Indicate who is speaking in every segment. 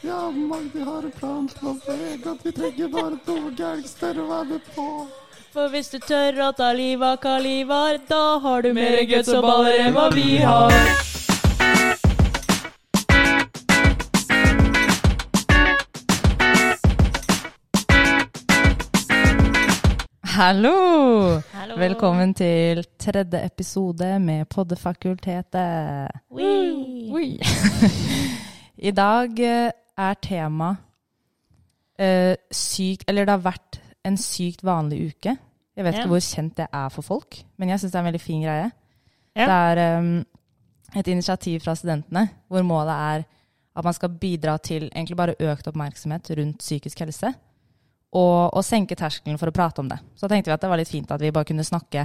Speaker 1: Ja, Magdi har en plan som er veg, at vi trenger bare to gangster å være med på.
Speaker 2: For hvis du tør å ta livet av Kalivar, da har du mer
Speaker 3: Mere
Speaker 2: guts
Speaker 3: guts
Speaker 2: og
Speaker 3: og
Speaker 2: baller enn hva vi har.
Speaker 3: Hallo!
Speaker 2: Hallo.
Speaker 3: Velkommen til tredje episode med Poddefakultetet.
Speaker 2: Ui.
Speaker 3: Oi. I dag eh, er tema eh, sykt Eller det har vært en sykt vanlig uke. Jeg vet
Speaker 2: Ja.
Speaker 3: ikke hvor kjent det er for folk, men jeg syns det er en veldig fin greie.
Speaker 2: Ja.
Speaker 3: Det er eh, et initiativ fra studentene hvor målet er at man skal bidra til egentlig bare økt oppmerksomhet rundt psykisk helse. Og, og senke terskelen for å prate om det. Så tenkte vi at det var litt fint at vi bare kunne snakke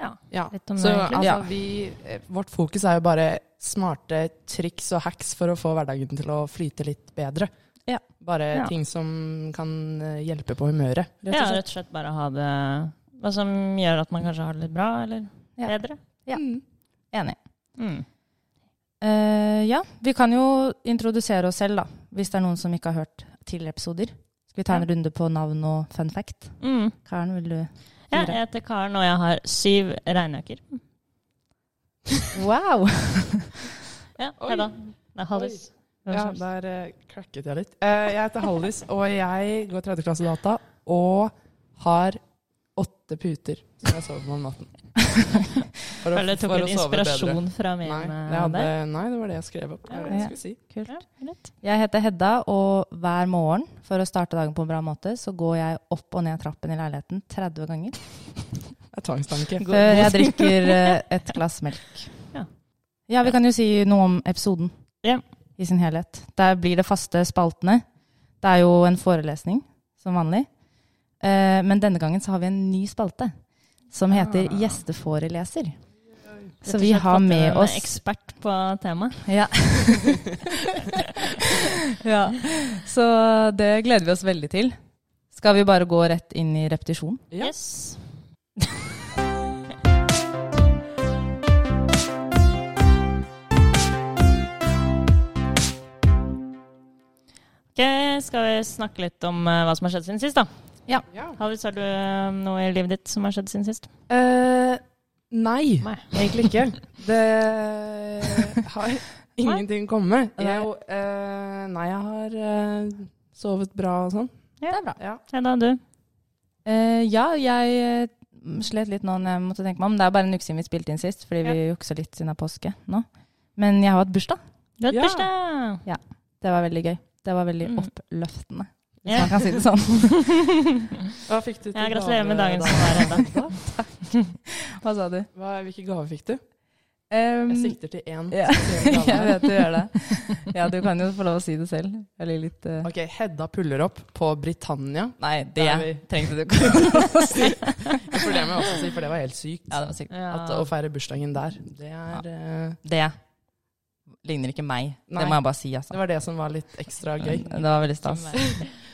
Speaker 2: Ja.
Speaker 4: Ja.
Speaker 2: Litt om
Speaker 4: Så
Speaker 2: det, egentlig.
Speaker 4: altså,
Speaker 3: Ja.
Speaker 4: vi, eh, vårt fokus er jo bare smarte triks og hacks for å få hverdagen til å flyte litt bedre.
Speaker 3: Ja.
Speaker 4: Bare
Speaker 2: Ja.
Speaker 4: ting som kan eh, hjelpe på humøret, rett
Speaker 2: Ja,
Speaker 4: og slett.
Speaker 2: rett og slett bare ha det Hva som gjør at man kanskje har det litt bra, eller
Speaker 3: Ja.
Speaker 2: bedre.
Speaker 3: Ja.
Speaker 4: Mm.
Speaker 3: Enig.
Speaker 2: Mm.
Speaker 3: Eh, ja, vi kan jo introdusere oss selv, da. Hvis det er noen som ikke har hørt tidligere episoder. Skal vi ta en runde på navn og fun fact?
Speaker 2: Mm.
Speaker 3: Karen, vil du
Speaker 2: Ja, jeg heter Karen, og jeg har syv regnjakker.
Speaker 3: Wow!
Speaker 2: Ja, hei da. Det er Hallis. Hvem
Speaker 4: Ja,
Speaker 2: som helst.
Speaker 4: der eh, klakket jeg litt. Eh, jeg heter Hallis, og jeg går tredje klasse data og har åtte puter som jeg sover på om natten. For å-
Speaker 2: Føler jeg tok
Speaker 4: for å
Speaker 2: litt
Speaker 4: sove bedre.
Speaker 2: inspirasjon fra min
Speaker 4: Nei,
Speaker 2: eh,
Speaker 4: jeg hadde,
Speaker 2: der.
Speaker 4: nei, det var det jeg skrev opp. Det var det jeg skulle si.
Speaker 3: Kult.
Speaker 2: Ja, greit.
Speaker 3: Jeg heter Hedda, og hver morgen for å starte dagen på en bra måte, så går jeg opp og ned trappen i leiligheten 30 ganger
Speaker 4: Det er tvangstanke.
Speaker 3: før jeg drikker eh, et glass melk.
Speaker 2: Ja.
Speaker 3: Ja, vi kan jo si noe om episoden
Speaker 2: Ja.
Speaker 3: i sin helhet. Der blir det faste spaltene. Det er jo en forelesning, som vanlig. Eh, Men denne gangen så har vi en ny spalte, som heter Gjesteforeleser.
Speaker 2: Ah. Rett
Speaker 3: Så
Speaker 2: og
Speaker 3: vi
Speaker 2: slett
Speaker 3: har
Speaker 2: fått inn
Speaker 3: med
Speaker 2: en
Speaker 3: oss
Speaker 2: ekspert på temaet.
Speaker 3: Ja. ja. Så det gleder vi oss veldig til. Skal vi bare gå rett inn i repetisjon?
Speaker 4: Ja.
Speaker 2: Yes. Ok, skal vi snakke litt om eh, hva som har skjedd siden sist, da?
Speaker 4: Ja.
Speaker 2: Hallis, har du eh, noe i livet ditt som har skjedd siden sist?
Speaker 4: Eh, nei,
Speaker 2: Nei.
Speaker 4: egentlig ikke. Det har ingenting kommet.
Speaker 3: Nei.
Speaker 4: Jeg, eh, nei, jeg har eh, sovet bra og sånn.
Speaker 2: Ja.
Speaker 3: Det er bra.
Speaker 4: Ja.
Speaker 2: Hei da, du.
Speaker 3: Eh, ja, jeg eh, slet litt nå når jeg måtte tenke meg om. Det er bare en uke siden vi spilte inn sist, fordi vi juksa litt siden av påske nå. Men jeg har hatt bursdag.
Speaker 2: Du har hatt
Speaker 4: Ja.
Speaker 2: bursdag!
Speaker 3: Det var veldig gøy. Det var veldig
Speaker 2: Mm.
Speaker 3: oppløftende, hvis
Speaker 2: Ja.
Speaker 3: man kan si det sånn.
Speaker 4: Hva fikk du til
Speaker 2: Ja, gratulerer med
Speaker 4: gave
Speaker 2: dagen
Speaker 4: da?
Speaker 2: som var, Hedda.
Speaker 3: Hva sa du?
Speaker 4: Hva, hvilke gaver fikk du?
Speaker 3: Um,
Speaker 4: Jeg sikter til én.
Speaker 3: ja.
Speaker 4: spesiell gave.
Speaker 3: jeg vet du gjør det. Ja, du kan jo få lov å si det selv. Eller litt eh,
Speaker 4: Ok, Hedda puller opp på Britannia.
Speaker 3: Nei, det
Speaker 4: Der vi-
Speaker 3: trengte du ikke å si.
Speaker 4: For det må jeg også si, for det var helt sykt.
Speaker 3: Ja, det var sykt.
Speaker 2: Ja.
Speaker 4: At Å feire bursdagen der, det er eh,
Speaker 3: Det ligner ikke meg.
Speaker 4: Nei.
Speaker 3: Det må jeg bare si,
Speaker 4: Det
Speaker 3: altså.
Speaker 4: var det som var litt ekstra gøy.
Speaker 3: Det var veldig stas.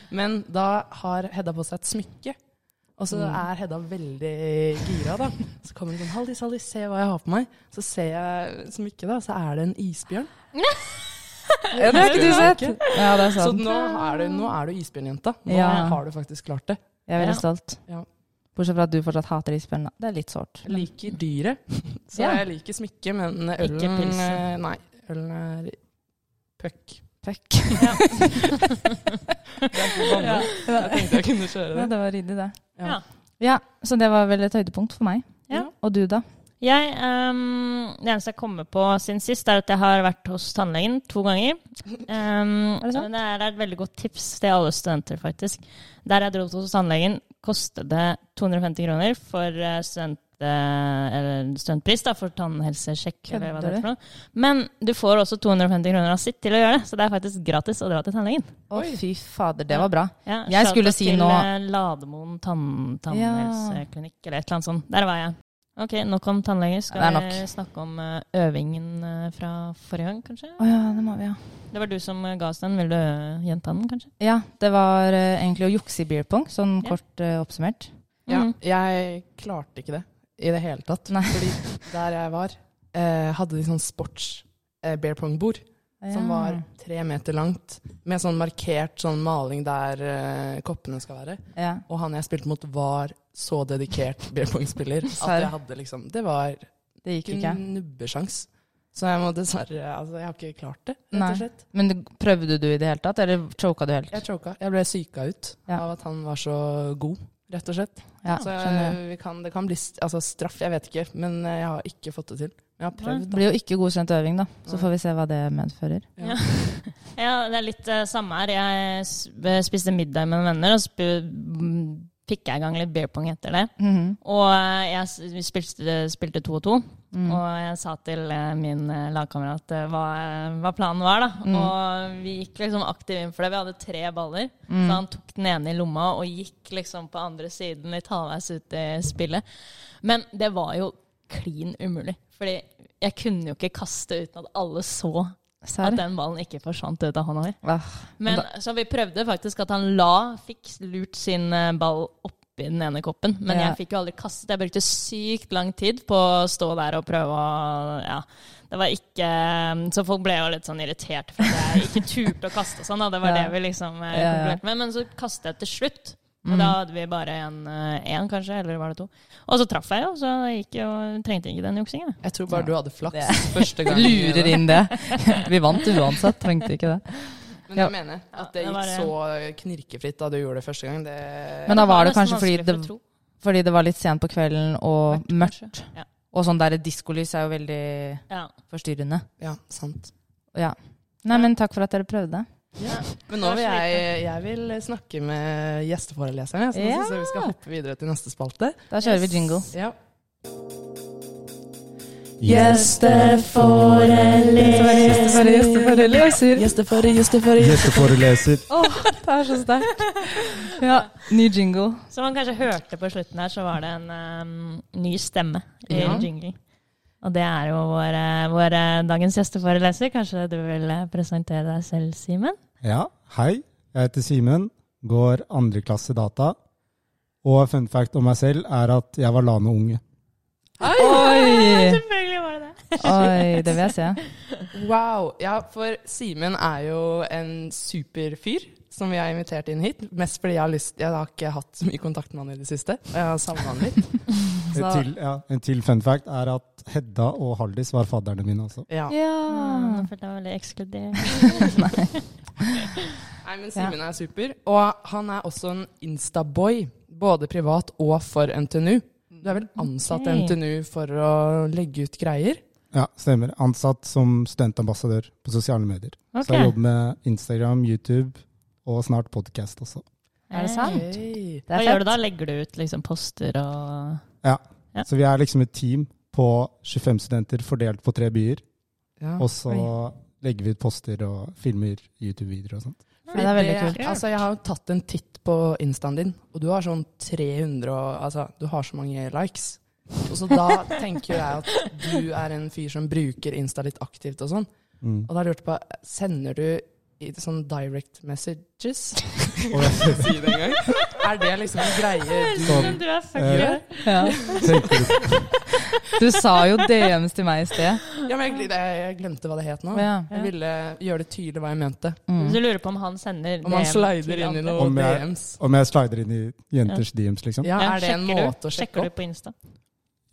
Speaker 4: Men da har Hedda på seg et smykke. Og så er Hedda veldig gira, da. Så kommer hun sånn 'Hallis, Hallis, se hva jeg har på meg.' Så ser jeg smykket, da, så er det en isbjørn.
Speaker 3: Ja, det har ikke du sett. Ja, det er
Speaker 4: Så
Speaker 3: sant.
Speaker 4: nå er du, nå er du isbjørnjenta. Nå
Speaker 3: Ja.
Speaker 4: har du faktisk klart det.
Speaker 3: Jeg er veldig
Speaker 2: Ja.
Speaker 3: stolt.
Speaker 4: Ja.
Speaker 3: Bortsett fra at du fortsatt hater isbjørn. da. Det er litt sårt.
Speaker 4: Jeg liker dyret, så
Speaker 3: Ja.
Speaker 4: jeg liker smykket, men
Speaker 2: Ikke
Speaker 4: ølen
Speaker 2: pilsen.
Speaker 4: Nei, ølen er puck.
Speaker 3: Fuck.
Speaker 4: Det er så gammel. Jeg tenkte jeg kunne kjøre
Speaker 3: Ja,
Speaker 4: det.
Speaker 3: det var ryddig, det.
Speaker 2: Ja.
Speaker 3: Ja, så det var vel et høydepunkt for meg.
Speaker 2: Ja.
Speaker 3: Og du, da?
Speaker 2: Jeg, ehm, det eneste jeg kommer på siden sist, er at jeg har vært hos tannlegen to ganger. Ehm,
Speaker 3: Er det sant?
Speaker 2: Men det er et veldig godt tips til alle studenter, faktisk. Der jeg dro hos tannlegen, kostet det 250 kroner for eh, student, eh, eller studentpris da, for tannhelsesjekk. Eller hva det heter for noe. Men du får også 250 kroner av sitt til å gjøre det, så det er faktisk gratis å dra til tannlegen.
Speaker 3: Å, fy fader, det var bra.
Speaker 2: Ja,
Speaker 3: Jeg
Speaker 2: shout-out
Speaker 3: skulle si
Speaker 2: til,
Speaker 3: nå-
Speaker 2: eh, Lademoen tann, tannhelseklinikk eller et eller annet sånt. Der var jeg. Ok, nok om tannleger. Skal
Speaker 3: Ja, det er
Speaker 2: vi snakke om eh, øvingen eh, fra forrige gang, kanskje?
Speaker 3: Å ja, det må vi, ja.
Speaker 2: Det var du som eh, ga oss den. Vil du eh, gjenta den, kanskje?
Speaker 3: Ja, det var eh, egentlig å jukse i beer pong, sånn
Speaker 2: Ja.
Speaker 3: kort eh, oppsummert.
Speaker 4: Ja,
Speaker 2: Mm.
Speaker 4: jeg klarte ikke det i det hele tatt.
Speaker 3: Nei.
Speaker 4: Fordi der jeg var, eh, hadde de sånn sports eh, bear pong-bord. som
Speaker 3: Ja.
Speaker 4: var tre meter langt, med sånn markert sånn maling der eh, koppene skal være.
Speaker 3: Ja.
Speaker 4: Og han jeg spilte mot, var så dedikert b-pong-spiller at
Speaker 3: Serr?
Speaker 4: jeg hadde liksom Det var
Speaker 3: Det gikk ikke.
Speaker 4: nubbesjans. Så jeg må dessverre Altså, jeg har ikke klart det, rett
Speaker 3: Nei.
Speaker 4: og slett.
Speaker 3: Men du- prøvde du i det hele tatt, eller choka du helt?
Speaker 4: Jeg choka. Jeg ble syka ut
Speaker 3: Ja.
Speaker 4: av at han var så god, rett og slett.
Speaker 3: Ja,
Speaker 4: så
Speaker 3: skjønner jeg.
Speaker 4: jeg, Altså, vi kan, det kan bli st- altså, straff, jeg vet ikke, men eh, jeg har ikke fått det til. Men jeg har
Speaker 3: Det
Speaker 4: prøvd.
Speaker 3: blir jo ikke godkjent øving, da. Så
Speaker 4: Nei.
Speaker 3: får vi se hva det medfører.
Speaker 2: Ja, det er litt eh, samme her. Jeg s- eh, spiste middag med noen venner, og så sp- mm, fikk jeg i gang litt beer pong etter det.
Speaker 3: Mhm.
Speaker 2: Og eh, jeg s- vi spilte, spilte to og to, og jeg sa til eh, min eh, lagkamerat eh, hva, hva planen var, da. Og vi gikk liksom aktivt inn for det. Vi hadde tre baller, så han tok den ene i lomma og gikk liksom på andre siden litt halvveis ut i spillet. Men det var jo klin umulig, fordi jeg kunne jo ikke kaste uten at alle så
Speaker 3: Serr?
Speaker 2: at den ballen ikke forsvant ut av hånda mi.
Speaker 3: Ah,
Speaker 2: Men,
Speaker 3: Men
Speaker 2: så vi prøvde faktisk at han la, fikk lurt sin eh, ball oppi den ene koppen. Men
Speaker 3: Ja.
Speaker 2: jeg fikk jo aldri kastet. Jeg brukte sykt lang tid på å stå der og prøve å Ja. Det var ikke eh, Så folk ble jo litt sånn irritert for at jeg ikke turte å kaste og sånn. Da. Det var
Speaker 3: Ja.
Speaker 2: det vi liksom eh,
Speaker 3: Ja, Mm. ja.
Speaker 2: konkluderte med. Men så kastet jeg til slutt. Og da hadde vi bare én, kanskje, eller var det to? Og så traff jeg jo, så gikk jo, trengte jeg ikke den juksingen.
Speaker 4: Jeg tror bare du hadde flaks
Speaker 3: Det-
Speaker 4: første gang.
Speaker 3: Lurer inn det. Vi vant uansett, trengte ikke det.
Speaker 4: Men
Speaker 3: Ja.
Speaker 4: jeg mener at
Speaker 2: Ja, det
Speaker 4: det gikk så
Speaker 2: var
Speaker 4: knirkefritt da du gjorde det første gang. Det,
Speaker 3: Men da var det
Speaker 2: nesten
Speaker 3: kanskje fordi
Speaker 2: vanskelig for å
Speaker 3: det,
Speaker 2: tro.
Speaker 3: fordi det var litt sent på kvelden og mørkt.
Speaker 2: Ja.
Speaker 3: Og sånn der diskolys er jo veldig
Speaker 2: Ja.
Speaker 3: forstyrrende.
Speaker 4: ja, sant.
Speaker 3: Ja. Nei, men takk for at dere prøvde.
Speaker 4: Men nå vil jeg, jeg vil snakke med gjesteforeleserne, så nå
Speaker 3: Ja.
Speaker 4: synes jeg vi skal hoppe videre til neste spalte.
Speaker 3: Da kjører vi jingle.
Speaker 4: Ja.
Speaker 3: Gjesteforeleser.
Speaker 1: Gjesteforeleser.
Speaker 3: Det er så sterkt. Ja, ny jingle.
Speaker 2: Som man kanskje hørte på slutten her, så var det en ehm, ny stemme i
Speaker 4: Ja.
Speaker 2: jinglen. Og det er jo vår, eh, vår eh, dagens gjesteforeleser. Kanskje du vil eh, presentere deg selv, Simen?
Speaker 1: Ja, hei. Jeg heter Simen, går andre klasse data. Og fun fact om meg selv er at jeg var LANO-unge.
Speaker 3: Oi!
Speaker 2: Selvfølgelig var det det.
Speaker 3: Oi, det vil jeg se.
Speaker 4: Wow. Ja, for Simen er jo en superfyr som vi har invitert inn hit. Mest fordi jeg har lyst Jeg har ikke hatt så mye kontakt med han i det siste, og jeg har savna han litt.
Speaker 1: En til, ja, en til fun fact er at Hedda og Haldis var fadderne mine altså. også.
Speaker 4: Ja.
Speaker 3: Ja.
Speaker 2: Ah, Nå følte jeg meg veldig ekskludert.
Speaker 4: Nei, men Simen er super. Og han er også en instaboy, både privat og for NTNU. Du er vel
Speaker 3: Mm.
Speaker 4: ansatt i
Speaker 2: Ok.
Speaker 4: NTNU for å legge ut greier?
Speaker 1: Ja, stemmer. Ansatt som studentambassadør på sosiale medier. Så jeg
Speaker 2: Ok.
Speaker 1: jobber med Instagram, YouTube og snart podkast også.
Speaker 3: Er det sant?
Speaker 4: Hey.
Speaker 3: Det
Speaker 2: Hva
Speaker 3: er
Speaker 2: gjør du
Speaker 3: fett.
Speaker 2: da? Legger du ut liksom poster og Ja.
Speaker 1: Så vi er liksom et team på 25 studenter fordelt på tre byer.
Speaker 4: Ja.
Speaker 1: Og så legger vi ut poster og filmer YouTube-videoer og sånt.
Speaker 4: Fordi
Speaker 3: Ja, det er veldig kult.
Speaker 4: Altså, jeg har jo tatt en titt på instaen din, og du har sånn 300 og, Altså, du har så mange likes. Og så da tenker jo jeg at du er en fyr som bruker Insta litt aktivt og sånn.
Speaker 1: Mm.
Speaker 4: Og da lurte jeg på Sender du i sånn direct messages?
Speaker 1: Og jeg
Speaker 4: Si det en gang. Er det liksom en greie du
Speaker 1: Sånn.
Speaker 2: Du er
Speaker 1: Eh,
Speaker 2: fucker.
Speaker 3: Ja.
Speaker 1: tenkte
Speaker 3: Du sa jo DMs til meg i sted.
Speaker 4: Ja, men jeg, gl- jeg glemte hva det het nå.
Speaker 3: Å, ja. Mm.
Speaker 4: Jeg ville gjøre det tydelig hva jeg mente.
Speaker 2: Så du lurer på om han sender
Speaker 4: Om han
Speaker 2: DM
Speaker 4: slider
Speaker 2: til
Speaker 4: inn i
Speaker 2: andre?
Speaker 4: noen
Speaker 1: Om jeg-
Speaker 4: DMs.
Speaker 1: Om jeg slider inn i jenters DMs, liksom.
Speaker 4: Ja,
Speaker 2: Ja,
Speaker 4: er det en
Speaker 2: sjekker du?
Speaker 4: måte å sjekke
Speaker 2: Sjekker
Speaker 4: opp?
Speaker 2: du på Insta?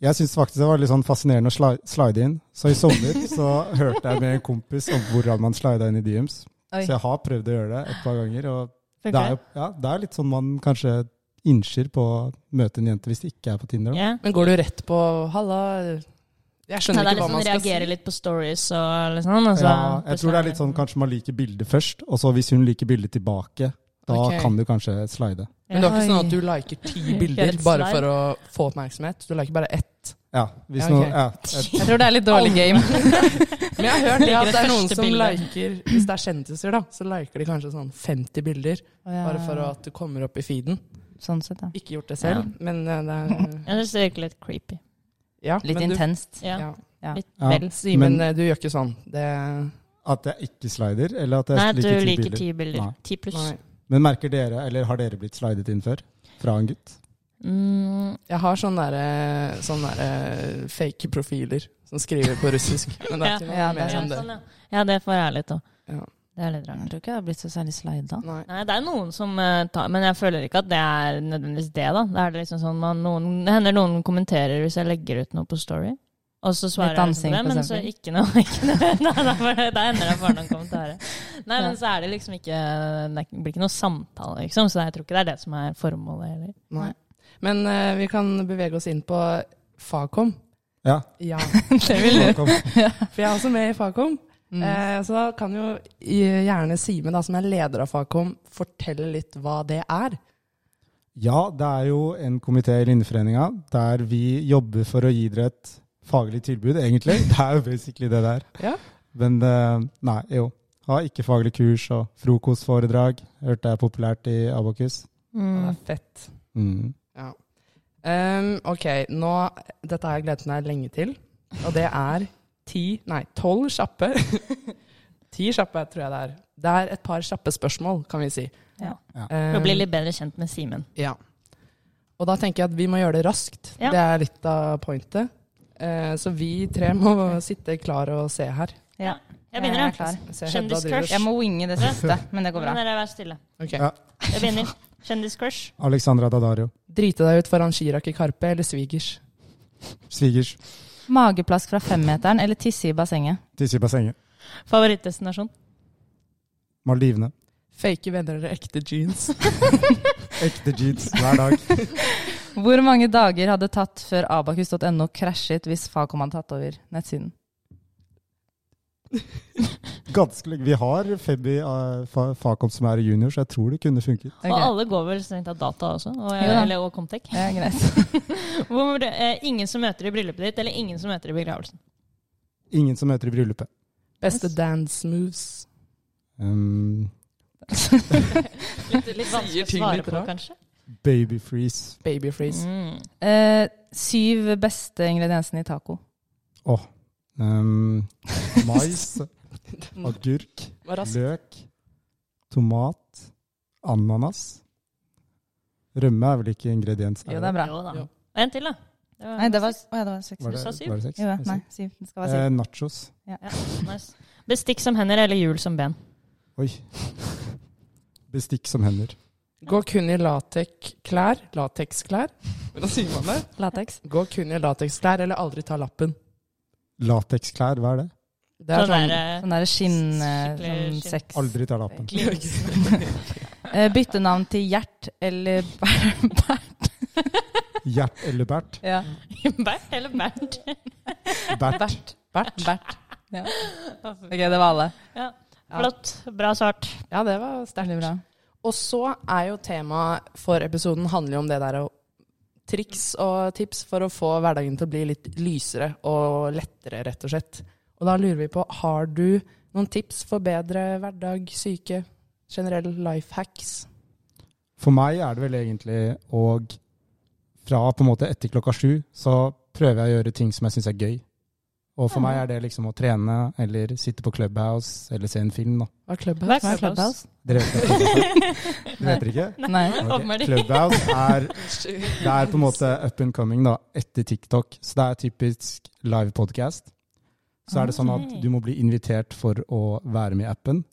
Speaker 1: Jeg syns faktisk det var litt sånn fascinerende å sli- slide inn. Så i sommer så hørte jeg med en kompis om hvordan man slida inn i DMs.
Speaker 3: Oi.
Speaker 1: Så jeg har prøvd å gjøre det et par ganger. Og
Speaker 2: Funker
Speaker 1: det er jo ja, det er litt sånn man kanskje innser på å møte en jente hvis det ikke er på Tinder. da.
Speaker 2: Ja.
Speaker 4: Men går du rett på 'halla'? Jeg
Speaker 2: Ja,
Speaker 4: skjønner
Speaker 2: det er
Speaker 4: ikke hva
Speaker 2: liksom
Speaker 4: man skal si.
Speaker 2: reagere litt på stories og litt sånn. og så-
Speaker 1: Ja, jeg tror det er litt sånn kanskje man liker bildet først, og så hvis hun liker bildet tilbake, da
Speaker 4: Ok.
Speaker 1: kan du kanskje slide.
Speaker 4: Men det er ikke
Speaker 3: Oi.
Speaker 4: sånn at du liker ti
Speaker 2: Gjør
Speaker 4: bilder
Speaker 2: et
Speaker 4: bare
Speaker 2: slide.
Speaker 4: for å få oppmerksomhet. Du liker bare ett.
Speaker 1: Ja, hvis
Speaker 4: Ja,
Speaker 1: noe-
Speaker 4: ok.
Speaker 1: ja, jeg-
Speaker 3: Jeg tror det er litt dårlig game.
Speaker 4: Men jeg har hørt
Speaker 2: Liker
Speaker 4: at
Speaker 2: det
Speaker 4: det er noen
Speaker 2: første
Speaker 4: som
Speaker 2: bildet.
Speaker 4: liker Hvis det er kjendiser, da, så liker de kanskje sånn 50 bilder. Bare for at du kommer opp i feeden.
Speaker 3: Sånn sett, ja.
Speaker 4: Ikke gjort det selv, men eh, det er
Speaker 2: Jeg syns det virker litt creepy.
Speaker 4: ja,
Speaker 3: Litt
Speaker 4: men du-
Speaker 3: intenst.
Speaker 2: Ja.
Speaker 4: Ja.
Speaker 2: Litt
Speaker 1: Ja.
Speaker 2: vel.
Speaker 4: Simen,
Speaker 1: Men-
Speaker 4: eh, du gjør ikke sånn. Det
Speaker 1: at jeg ikke slider, eller at jeg
Speaker 2: Nei, du
Speaker 1: liker ti
Speaker 2: liker
Speaker 1: bilder.
Speaker 2: ti bilder.
Speaker 1: Nei.
Speaker 2: Ti pluss.
Speaker 4: Nei.
Speaker 1: Men merker dere, eller har dere blitt slidet inn før? Fra en gutt?
Speaker 2: Mm,
Speaker 4: Jeg har sånne, der, sånne der fake profiler som skriver på russisk. Men det er ikke noe
Speaker 3: Ja,
Speaker 4: mer
Speaker 3: det er
Speaker 4: enn det.
Speaker 2: sånn, ja. ja, det får være litt òg.
Speaker 4: Ja.
Speaker 2: Det er litt rart.
Speaker 3: Jeg tror ikke jeg har blitt så særlig slida.
Speaker 4: Nei.
Speaker 2: Nei, det er noen som eh, tar Men jeg føler ikke at det er nødvendigvis det, da. Det er det liksom sånn man, noen, det hender noen kommenterer hvis jeg legger ut noe på Story. Og så svarer
Speaker 3: Litt
Speaker 2: jeg liksom
Speaker 3: dansing,
Speaker 2: det,
Speaker 3: for
Speaker 2: men så
Speaker 3: eksempel.
Speaker 2: ikke noe. Ikke noe. Nei, da, får det- da hender det bare noen kommentarer. Nei, men så er det liksom ikke Det er ikke- blir ikke noe samtale, liksom. Så jeg tror ikke det er det som er formålet heller.
Speaker 4: Nei. Men eh, vi kan bevege oss inn på Fagkom.
Speaker 1: Ja.
Speaker 4: Ja,
Speaker 3: Det vil du.
Speaker 1: Kom.
Speaker 4: for jeg er også med i Fagkom.
Speaker 3: Mm.
Speaker 4: Eh, så da kan jo gjerne Simen, da, som er leder av Fagkom, fortelle litt hva det er.
Speaker 1: Ja, det er jo en komité i Lindeforeninga der vi jobber for å gi dere et faglig tilbud, egentlig. Det er jo basically det der.
Speaker 4: Ja.
Speaker 1: Men eh, nei, jo. Ha ikke faglig kurs og frokostforedrag. Hørte jeg er populært i Abokus.
Speaker 4: Det
Speaker 2: Mm.
Speaker 4: er fett.
Speaker 1: Mm.
Speaker 4: Ja. Ehm, ok, nå, dette har jeg gledet meg lenge til, og det er ti, nei, tolv kjappe. ti kjappe, tror jeg det er. Det er et par kjappe spørsmål, kan vi si.
Speaker 2: Ja.
Speaker 1: Ja.
Speaker 2: For å bli litt bedre kjent med Simen.
Speaker 4: Ja. Og da tenker jeg at vi må gjøre det raskt.
Speaker 2: Ja.
Speaker 4: Det er litt av pointet. Eh, så vi tre må sitte klar og se her.
Speaker 2: Ja. Jeg
Speaker 3: Jeg
Speaker 2: begynner,
Speaker 3: er
Speaker 2: jeg.
Speaker 3: klar.
Speaker 4: Se Hedda
Speaker 2: Kjendiscrush.
Speaker 4: driver-
Speaker 3: Jeg må winge det siste, men det går
Speaker 2: Nå må
Speaker 3: bra.
Speaker 2: dere være stille.
Speaker 4: Ok.
Speaker 1: Ja.
Speaker 2: Jeg begynner. Kjendiscrush.
Speaker 1: Alexandra Dadario.
Speaker 4: Drite deg ut foran Chirag i Karpe eller svigers?
Speaker 1: Svigers.
Speaker 3: Mageplask fra femmeteren eller tisse i bassenget?
Speaker 1: Tisse i bassenget.
Speaker 2: Favorittdestinasjon.
Speaker 1: Maldivene.
Speaker 4: Fake venner eller ekte jeans?
Speaker 1: Ekte jeans hver dag.
Speaker 3: Hvor mange dager hadde tatt før abakus.no krasjet hvis Fagkom hadde tatt over nettsiden?
Speaker 1: Ganske lenge. Vi har Febby eh, fa Fakom som er junior, så jeg tror det kunne funket.
Speaker 3: Ok,
Speaker 2: Og alle går vel strengt tatt data også, og,
Speaker 3: Jo da.
Speaker 2: eller, og Comtec.
Speaker 3: det er greit.
Speaker 2: Hvor, eh, ingen som møter i bryllupet ditt, eller ingen som møter i begravelsen.
Speaker 1: Ingen som møter i bryllupet.
Speaker 4: Beste dance moves?
Speaker 1: Um,
Speaker 2: Litt, litt vanskelig
Speaker 4: Sier
Speaker 2: å
Speaker 4: ting
Speaker 2: svare
Speaker 4: litt
Speaker 2: på,
Speaker 4: rart.
Speaker 2: kanskje.
Speaker 1: baby freeze.
Speaker 4: Baby freeze?
Speaker 2: Mm.
Speaker 3: Eh, syv beste ingrediensene i taco.
Speaker 1: Um, mais. Agurk.
Speaker 4: Var rask.
Speaker 1: Løk. Tomat. Ananas. Rømme er vel ikke ingrediens?
Speaker 3: Jo, det er bra.
Speaker 2: Jo da.
Speaker 4: Ja.
Speaker 2: Og en til, da. Det var,
Speaker 3: Nei, det var, å, ja, det var seks.
Speaker 1: Var det,
Speaker 2: Du sa syv.
Speaker 1: var det seks?
Speaker 3: Jo, ja,
Speaker 1: Jeg
Speaker 3: nei,
Speaker 1: sa-
Speaker 3: syv. Det skal være syv.
Speaker 1: Eh, nachos.
Speaker 2: nice. Bestikk som hender eller hjul som ben.
Speaker 1: Oi. Bestikk som hender.
Speaker 4: Gå kun i latekklær. Lateksklær? Hvordan sier man det?
Speaker 3: Lateks.
Speaker 4: Gå kun i lateksklær eller aldri ta lappen.
Speaker 1: Lateksklær, hva er det?
Speaker 4: Det er sånn
Speaker 2: eh,
Speaker 3: Sånn derre skinn... eh,
Speaker 2: Skikkelig
Speaker 3: Sånn
Speaker 2: skinn.
Speaker 3: seks.
Speaker 1: Aldri ta lappen.
Speaker 3: Eh, bytte navn til Gjert eller Bert.
Speaker 1: Gjert eller Bert?
Speaker 3: ja.
Speaker 2: Bert eller Bernt?
Speaker 1: Bert.
Speaker 3: Bert. Bert. Bert. Ja. Ok, det var alle.
Speaker 4: Ja.
Speaker 2: Flott. Bra svart.
Speaker 4: Ja, det var
Speaker 3: Veldig
Speaker 4: sterkt.
Speaker 3: bra.
Speaker 4: Og så er jo temaet for episoden handler jo om det der å triks og tips for å få hverdagen til å bli litt lysere og lettere, rett og slett. Og da lurer vi på, har du noen tips for bedre hverdag, syke, generell life hacks?
Speaker 1: For meg er det vel egentlig å Fra på en måte etter klokka sju så prøver jeg å gjøre ting som jeg syns er gøy. Og for meg er det liksom å trene eller sitte på Clubhouse eller se en film, da.
Speaker 4: Hva er klubben?
Speaker 2: Hva er
Speaker 3: Hva er Clubhouse?
Speaker 1: Dere vet ikke? Dere vet ikke?
Speaker 3: Nei.
Speaker 1: Ok.
Speaker 2: Åpenbart ikke.
Speaker 1: Clubhouse er Det er på en måte up and coming da, etter TikTok. Så det er typisk live podcast. Så er det sånn at
Speaker 2: Ah, Ok.
Speaker 1: du må bli invitert for å være med i appen.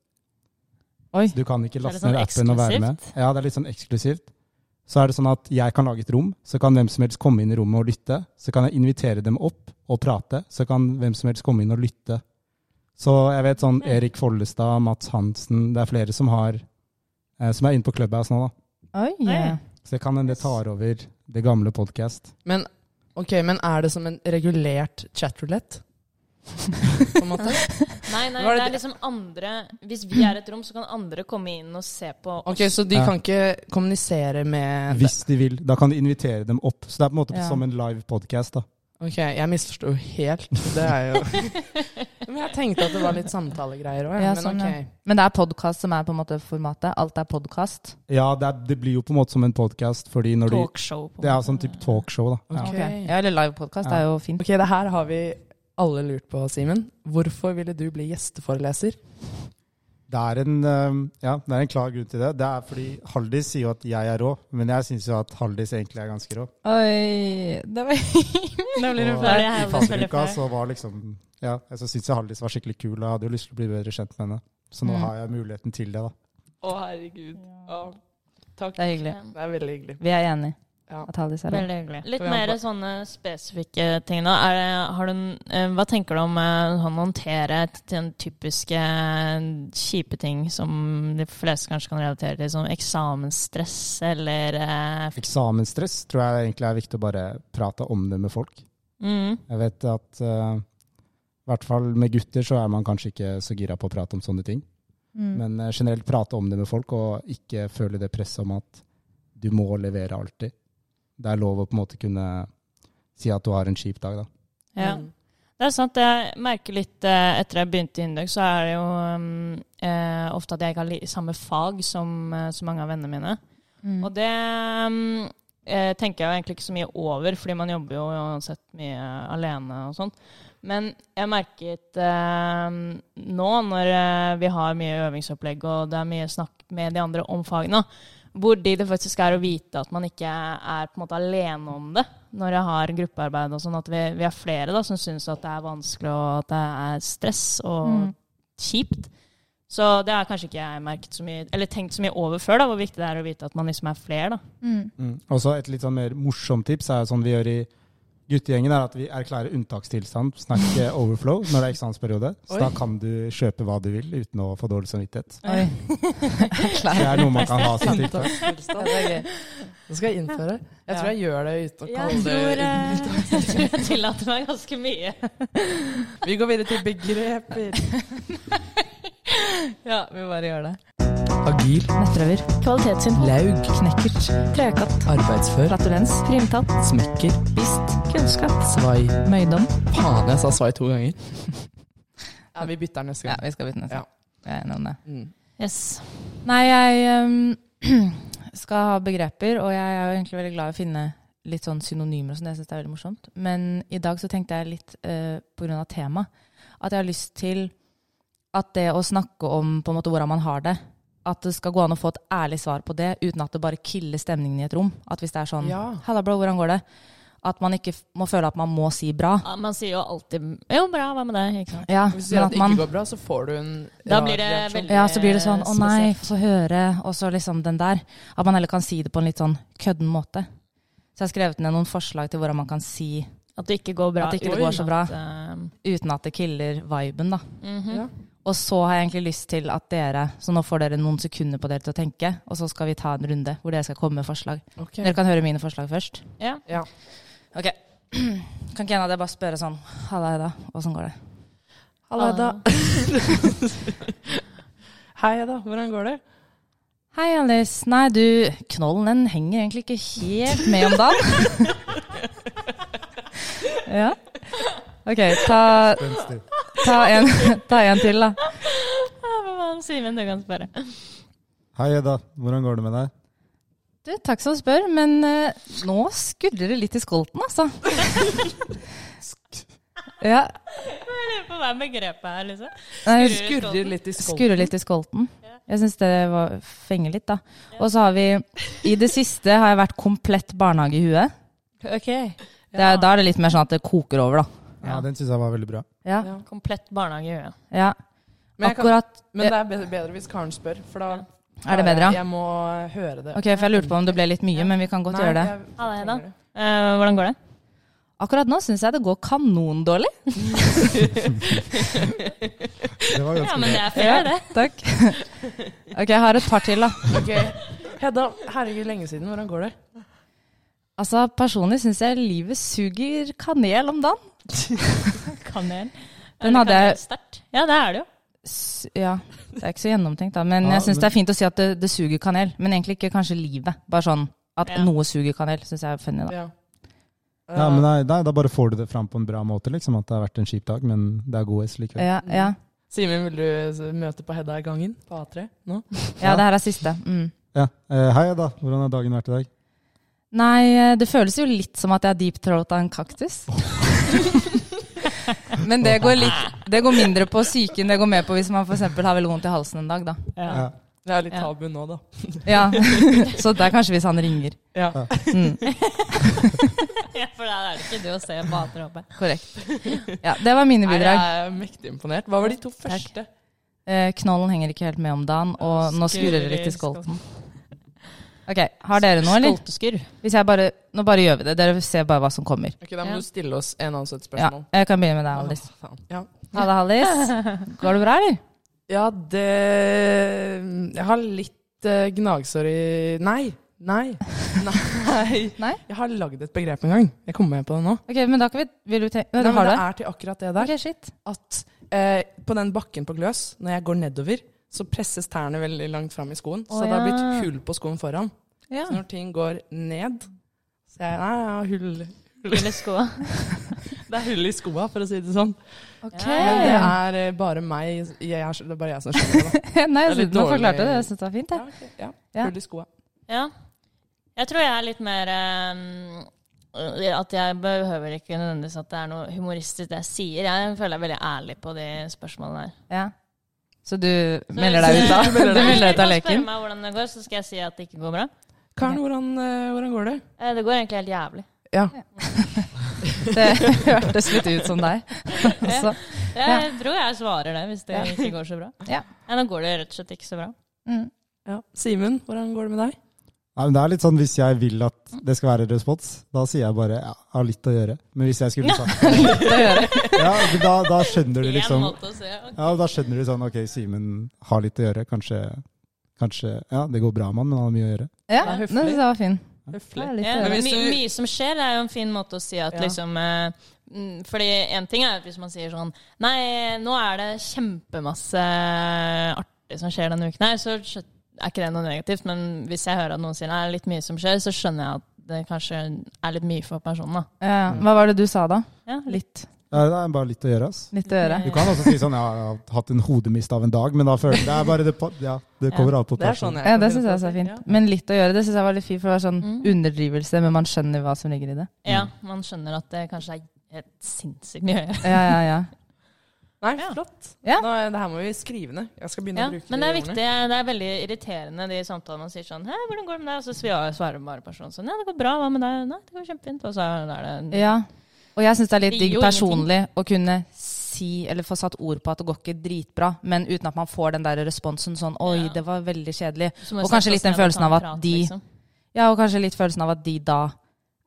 Speaker 3: Oi.
Speaker 1: Du kan ikke
Speaker 2: er litt
Speaker 1: laste ned
Speaker 2: sånn
Speaker 1: appen og være med. Ja, det er litt sånn eksklusivt. Så er det sånn at jeg kan lage et rom, så kan hvem som helst komme inn i rommet og lytte. Så kan jeg invitere dem opp og prate, så kan hvem som helst komme inn og lytte. Så jeg vet sånn Erik Follestad, Mats Hansen, det er flere som har eh, som er inne på Clubhouse nå, da.
Speaker 3: Oi.
Speaker 2: Nei.
Speaker 1: Så det kan hende det tar over det gamle podcast.
Speaker 4: Men, ok, men er det som en regulert chatroulette? På en måte?
Speaker 2: Nei, nei,
Speaker 4: Var
Speaker 2: det
Speaker 4: det
Speaker 2: er liksom andre Hvis vi er et rom, så kan andre komme inn og se på oss.
Speaker 4: Ok, så de kan ikke kommunisere med
Speaker 1: Hvis de vil. Da kan du invitere dem opp. Så det er på en måte
Speaker 3: Ja.
Speaker 1: som en live podcast. Da.
Speaker 4: Ok, jeg misforsto helt. Det er jo Men jeg tenkte at det var litt samtalegreier òg,
Speaker 3: Ja,
Speaker 4: men
Speaker 3: sånn, ja.
Speaker 4: ok.
Speaker 3: Men det er podkast som er på en måte formatet. Alt er podkast.
Speaker 1: Ja, det, er, det blir jo på en måte som en podcast, fordi når de
Speaker 2: Talkshow. på en
Speaker 1: Det er
Speaker 2: måte.
Speaker 1: sånn type talkshow, da. Ja.
Speaker 4: Ok.
Speaker 3: Ja, eller live podcast
Speaker 1: Ja.
Speaker 3: er jo fint.
Speaker 4: Ok, det her har vi alle lurt på, Simen. Hvorfor ville du bli gjesteforeleser?
Speaker 1: Det er, en, eh, ja, det er en klar grunn til det. Det er fordi Haldis sier jo at jeg er rå, men jeg syns jo at Haldis egentlig er ganske rå.
Speaker 3: Oi, det var
Speaker 2: Nå blir det
Speaker 1: Og
Speaker 2: flau.
Speaker 1: I fadderuka så var liksom Ja, jeg så syntes jeg Haldis var skikkelig kul, og jeg hadde jo lyst til å bli bedre kjent med henne. Så nå
Speaker 3: Mm.
Speaker 1: har jeg muligheten til det, da.
Speaker 4: Å, herregud. Å, takk.
Speaker 3: Det er hyggelig.
Speaker 4: Det er veldig hyggelig.
Speaker 3: Vi er enige.
Speaker 4: Ja.
Speaker 3: At Haldis er rå.
Speaker 2: Veldig hyggelig. Litt
Speaker 4: Program
Speaker 2: mer
Speaker 4: på-
Speaker 2: sånne spesifikke ting nå. Er det, har du, en- eh, hva tenker du om eh, å håndtere t- den typiske eh, kjipe ting som de fleste kanskje kan relatere til, som eksamensstress eller eh, f-
Speaker 1: Eksamensstress tror jeg egentlig er viktig å bare prate om det med folk.
Speaker 2: mm,
Speaker 1: Jeg vet at eh, i hvert fall med gutter så er man kanskje ikke så gira på å prate om sånne ting.
Speaker 3: Mm.
Speaker 1: Men eh, generelt prate om det med folk, og ikke føle det presset om at du må levere alltid. Det er lov å på en måte kunne si at du har en kjip dag, da.
Speaker 2: ja.
Speaker 4: Mm.
Speaker 2: Det er sant. Jeg merker litt eh, etter jeg begynte i Indøk, så er det jo mm, eh, ofte at jeg ikke har li- samme fag som eh, så mange av vennene mine.
Speaker 3: Mm.
Speaker 2: Og det mm, eh, tenker jeg jo egentlig ikke så mye over, fordi man jobber jo uansett mye alene og sånt. Men jeg merket eh, nå, når eh, vi har mye øvingsopplegg og det er mye snakk med de andre om fagene, hvor de det faktisk er å vite at man ikke er på en måte alene om det når jeg har gruppearbeid og sånn, at vi, vi er flere da, som syns at det er vanskelig og at det er stress og
Speaker 3: Mm.
Speaker 2: kjipt. Så det har kanskje ikke jeg merket så mye, eller tenkt så mye over før, da, hvor viktig det er å vite at man liksom er flere. da.
Speaker 3: Mm.
Speaker 1: Mm. Og så et litt sånn mer morsomt tips er jo sånn vi gjør i guttegjengen, er at vi erklærer unntakstilstand, snakke overflow når det er eksamensperiode. Så
Speaker 4: Oi.
Speaker 1: da kan du kjøpe hva du vil uten å få dårlig samvittighet.
Speaker 3: Oi.
Speaker 1: Det
Speaker 3: Klar.
Speaker 1: er noe man kan ha som tiltak.
Speaker 4: Unntakstilstand.
Speaker 3: Det er gøy.
Speaker 4: Det skal jeg innføre. Jeg tror jeg gjør det uten å
Speaker 2: Jeg
Speaker 4: kalle
Speaker 2: tror,
Speaker 4: det
Speaker 2: eh, jeg tror jeg tillater meg ganske mye.
Speaker 4: Vi går videre til begreper.
Speaker 3: Ja, vi bare gjør det.
Speaker 4: Agil,
Speaker 3: Nettprøver. Kvalitetssinnhold.
Speaker 4: laug,
Speaker 3: Knekkert. Trekatt.
Speaker 4: arbeidsfør,
Speaker 3: Flatulens. Primtatt.
Speaker 4: smekker,
Speaker 3: Bist. Kunnskap.
Speaker 4: svai.
Speaker 3: Møydom.
Speaker 4: Faen, jeg sa svai to ganger. Ja, vi bytter neste
Speaker 3: Ja,
Speaker 4: gang.
Speaker 3: vi skal bytte neste.
Speaker 4: Ja.
Speaker 3: gang. Jeg er enig om det.
Speaker 4: Mm.
Speaker 2: Yes.
Speaker 3: Nei, jeg ehm, skal ha begreper, og jeg er jo egentlig veldig glad i å finne litt sånn synonymer og sånn, det syns jeg er veldig morsomt. Men i dag så tenkte jeg litt eh, på grunn av tema, at jeg har lyst til at det å snakke om på en måte hvordan man har det, at det skal gå an å få et ærlig svar på det, uten at det bare killer stemningen i et rom. At hvis det er sånn
Speaker 4: Ja.
Speaker 3: 'Halla, bro, hvordan går det?' At man ikke f- må føle at man må si bra.
Speaker 2: Ja, man sier jo alltid 'jo, bra, hva med det?' Ikke sant?
Speaker 3: Ja, men
Speaker 4: Hvis du sier at
Speaker 3: at
Speaker 4: det
Speaker 3: man-
Speaker 4: ikke går bra, så får du en
Speaker 2: Da
Speaker 4: rar
Speaker 2: blir det
Speaker 4: reaksjon.
Speaker 2: veldig-
Speaker 3: Ja, så blir det sånn 'å nei,
Speaker 2: spesielt.
Speaker 3: få høre', og så liksom den der. At man heller kan si det på en litt sånn kødden måte. Så jeg har skrevet ned noen forslag til hvordan man kan si
Speaker 2: At det ikke går bra.
Speaker 3: At det ikke
Speaker 2: uten
Speaker 3: går så bra.
Speaker 2: at, eh,
Speaker 3: uten at det killer viben, da.
Speaker 2: mhm.
Speaker 4: Ja.
Speaker 3: Og så har jeg egentlig lyst til at dere, så nå får dere noen sekunder på dere til å tenke, og så skal vi ta en runde hvor dere skal komme med forslag.
Speaker 4: Ok.
Speaker 3: Dere kan høre mine forslag først.
Speaker 2: ja.
Speaker 4: Ja.
Speaker 3: Ok. Kan ikke en av dere bare spørre sånn 'Halla, Ida, åssen går det?'
Speaker 4: Halla, da. Hei, da. Hvordan går det?
Speaker 3: Hei, Alice. Nei, du, knollen den henger egentlig ikke helt med om dagen. ja. Ok, ta,
Speaker 1: Venstre.
Speaker 3: ta, en, ta en til, da.
Speaker 2: Hva sier vi du kan spørre?
Speaker 1: Hei, Edda. Hvordan går det med deg?
Speaker 3: Du, takk som spør, men eh, nå skurrer det litt i skolten, altså. ja.
Speaker 2: Jeg lurer på hva er begrepet her, liksom.
Speaker 3: Nei,
Speaker 4: Skurrer litt i skolten.
Speaker 3: Skurre litt i skolten. Jeg syns det var, fenger litt, da. Og så har vi I det siste har jeg vært komplett barnehage i huet.
Speaker 2: Ok.
Speaker 3: Det er, da er det litt mer sånn at det koker over, da.
Speaker 1: Ja, den syns jeg var veldig bra.
Speaker 3: Ja.
Speaker 4: Ja.
Speaker 2: Komplett barnehage i øyet.
Speaker 3: ja.
Speaker 4: Men, jeg kan,
Speaker 3: Akkurat
Speaker 4: men det er bedre- bedre hvis Karen spør, for da
Speaker 3: Er det bedre,
Speaker 4: Jeg,
Speaker 3: ja?
Speaker 4: jeg må høre det.
Speaker 3: Ok, for jeg lurte på om det ble litt mye, men vi kan godt gjøre det.
Speaker 2: Halla, Hedda. Eh, hvordan går det?
Speaker 3: Akkurat nå syns jeg det går kanondårlig.
Speaker 1: Det var
Speaker 2: Ja,
Speaker 1: ganske
Speaker 2: men
Speaker 1: bra.
Speaker 2: det er fair, det.
Speaker 3: Takk. Ok, jeg har et par til, da.
Speaker 4: Ok. Hedda, herregud, lenge siden. Hvordan går det?
Speaker 3: Altså, personlig syns jeg livet suger kanel om dagen.
Speaker 2: Kanel.
Speaker 3: Den
Speaker 2: Eller
Speaker 3: hadde jeg-
Speaker 2: kanelsterkt. Ja, det er det jo.
Speaker 3: S ja, det er ikke så gjennomtenkt, da. Men
Speaker 1: Ja,
Speaker 3: jeg syns
Speaker 1: men-
Speaker 3: det er fint å si at det, det suger kanel. Men egentlig ikke kanskje livet. Bare sånn at
Speaker 2: Ja.
Speaker 3: noe suger kanel, syns jeg er funny, da.
Speaker 4: Ja. Eh,
Speaker 1: Ja, men nei, nei, da bare får du det fram på en bra måte, liksom. At det har vært en kjip dag, men det er god S likevel.
Speaker 3: Ja, ja.
Speaker 4: Eh, Simen, vil du møte på Hedda i gangen på A3 nå?
Speaker 3: ja det her er siste. Mm.
Speaker 1: Ja. Eh, Hei, Edda. Hvordan har dagen vært i dag?
Speaker 3: eh, Nei, det føles jo litt som at jeg deep throat av en kaktus. Men det går, litt, det går mindre på psyken. Det går mer på hvis man f.eks. har veldig vondt i halsen en dag, da.
Speaker 1: Ja.
Speaker 4: Det er litt
Speaker 2: Ja.
Speaker 4: tabu nå, da.
Speaker 3: Ja. Så det er kanskje hvis han ringer.
Speaker 4: Ja.
Speaker 3: Mm,
Speaker 2: Ja, for der er det ikke du å se på hater oppe.
Speaker 3: korrekt. Ja, det var mine
Speaker 4: Nei,
Speaker 3: bidrag.
Speaker 4: jeg er mektig imponert. Hva var de to første?
Speaker 3: Eh, knollen henger ikke helt med om dagen, og nå skurrer det litt i skolten. Ok, Har dere noe, eller?
Speaker 2: Skolteskurr.
Speaker 3: Hvis jeg bare, nå bare gjør vi det. Dere ser bare hva som kommer.
Speaker 4: Ok, Da må
Speaker 2: Ja.
Speaker 4: du stille oss en annen et
Speaker 3: Ja,
Speaker 4: spørsmål.
Speaker 3: jeg kan begynne med deg, Alice.
Speaker 4: Åh, faen. Ja.
Speaker 3: Halla, Alice. Går det bra, eller?
Speaker 4: ja, det Jeg har litt eh, gnagsår i Nei. Nei. Nei.
Speaker 3: Nei?
Speaker 4: Jeg har lagd et begrep en gang. Jeg kommer med på det nå.
Speaker 3: Ok, men da kan vi Vil du tenke Nei,
Speaker 4: Nei,
Speaker 3: du
Speaker 4: men
Speaker 3: har
Speaker 4: det
Speaker 3: det?
Speaker 4: er til akkurat det der.
Speaker 3: Ok, shit.
Speaker 4: at eh, på den bakken på Gløs, når jeg går nedover, så presses tærne veldig langt fram i skoen.
Speaker 2: Å,
Speaker 4: så det har
Speaker 2: ja.
Speaker 4: blitt hull på skoen foran.
Speaker 3: Ja.
Speaker 4: Så når ting går ned, så er jeg Nei, jeg har hull.
Speaker 2: Eller skoa.
Speaker 4: Det er hull i skoa, for å si det sånn.
Speaker 3: Ok.
Speaker 4: Men det er eh, bare meg jeg, er- Det er bare jeg som skjønner det. da.
Speaker 3: Nei,
Speaker 4: Det er
Speaker 3: jeg
Speaker 4: litt
Speaker 3: synes, nå
Speaker 4: dårlig-
Speaker 3: forklarte du det. Jeg syns det var fint,
Speaker 4: Ja,
Speaker 3: jeg.
Speaker 4: ok, ja.
Speaker 3: Ja.
Speaker 4: Hull i skoa.
Speaker 2: Ja. Jeg tror jeg er litt mer ehm, At jeg behøver ikke nødvendigvis at det er noe humoristisk det jeg sier. Jeg føler jeg er veldig ærlig på de spørsmålene her.
Speaker 3: Ja. Så du melder deg ut da? Du melder deg ut av
Speaker 2: Spør
Speaker 3: leken?
Speaker 2: meg hvordan det går, så skal jeg si at det ikke går bra.
Speaker 4: Karen, hvordan, eh, hvordan går det?
Speaker 2: Eh, Det går egentlig helt jævlig.
Speaker 4: Ja.
Speaker 3: Det hørtes litt ut som deg. Også.
Speaker 2: Jeg tror jeg svarer det hvis det ikke går så bra.
Speaker 3: Ja.
Speaker 2: Ja, nå går det rett og slett ikke så bra.
Speaker 3: Mm.
Speaker 4: ja. Simen, hvordan går det med deg?
Speaker 1: Nei, men det er litt sånn Hvis jeg vil at det skal være respons, da sier jeg bare ja, jeg har litt å gjøre. Men hvis jeg skulle sagt ja, men da, da skjønner du
Speaker 2: Én
Speaker 1: liksom
Speaker 2: måte å se. ok.
Speaker 1: Ja, da skjønner du sånn Ok, Simen har litt å gjøre. Kanskje, kanskje Ja, det går bra med han, men han har mye å gjøre.
Speaker 3: Ja,
Speaker 4: Det er
Speaker 3: det
Speaker 4: høflig.
Speaker 3: synes jeg var fin. Det
Speaker 4: Høflig.
Speaker 3: er litt eh,
Speaker 2: Ja,
Speaker 4: Men
Speaker 3: dårlig.
Speaker 4: hvis
Speaker 2: my,
Speaker 4: du-
Speaker 2: mye som skjer, er jo en fin måte å si at
Speaker 4: Ja.
Speaker 2: liksom eh, mm, Fordi en ting er at hvis man sier sånn Nei, nå er det kjempemasse artig som skjer denne uken her, så skjø- er ikke det noe negativt. Men hvis jeg hører at noen sier det er litt mye som skjer, så skjønner jeg at det kanskje er litt mye for personen, da.
Speaker 3: Ja. Hva var det du sa da?
Speaker 2: Ja, litt.
Speaker 3: Litt.
Speaker 1: Ja, det er bare litt å gjøre, ass.
Speaker 3: Litt å gjøre.
Speaker 1: Du kan også si sånn ja, jeg har hatt en hodemist av en dag, men da føler jeg det er bare det på, Ja, det kommer av på
Speaker 4: Det er
Speaker 1: personen.
Speaker 4: sånn jeg
Speaker 3: Ja,
Speaker 4: kan
Speaker 3: det
Speaker 4: finne
Speaker 3: syns jeg
Speaker 4: på å
Speaker 3: også er
Speaker 4: si.
Speaker 3: fint.
Speaker 4: Ja.
Speaker 3: Men litt å gjøre, det syns jeg var litt fint, for det var sånn
Speaker 2: Mm.
Speaker 3: underdrivelse, men man skjønner hva som ligger i det.
Speaker 2: ja, man skjønner at det kanskje er helt sinnssykt mye å gjøre.
Speaker 3: Ja, ja, ja.
Speaker 4: Nei,
Speaker 2: Ja.
Speaker 4: flott.
Speaker 3: Ja.
Speaker 4: Nå, eh, det her må vi skrive ned. Jeg skal begynne
Speaker 2: Ja,
Speaker 4: å bruke
Speaker 2: men det er
Speaker 4: de ordene.
Speaker 2: viktig. Det er veldig irriterende de samtalene man sier sånn Hæ, hvordan går det med deg? Og så svarer- svarer bare personen sånn Ja, det går bra. Hva med deg? Nei, det går kjempefint. Og så er det
Speaker 3: Ja. Og jeg syns det er litt
Speaker 2: Det
Speaker 3: digg
Speaker 2: gir jo
Speaker 3: personlig å kunne si, eller få satt ord på at det går ikke dritbra, men uten at man får den der responsen sånn oi,
Speaker 2: Ja.
Speaker 3: det var veldig kjedelig.
Speaker 2: Så må
Speaker 3: Og
Speaker 2: vi sette
Speaker 3: kanskje
Speaker 2: oss
Speaker 3: litt den
Speaker 2: ned og
Speaker 3: følelsen
Speaker 2: ta en
Speaker 3: av at
Speaker 2: prat, liksom.
Speaker 3: de- Ja, og kanskje litt følelsen av at de da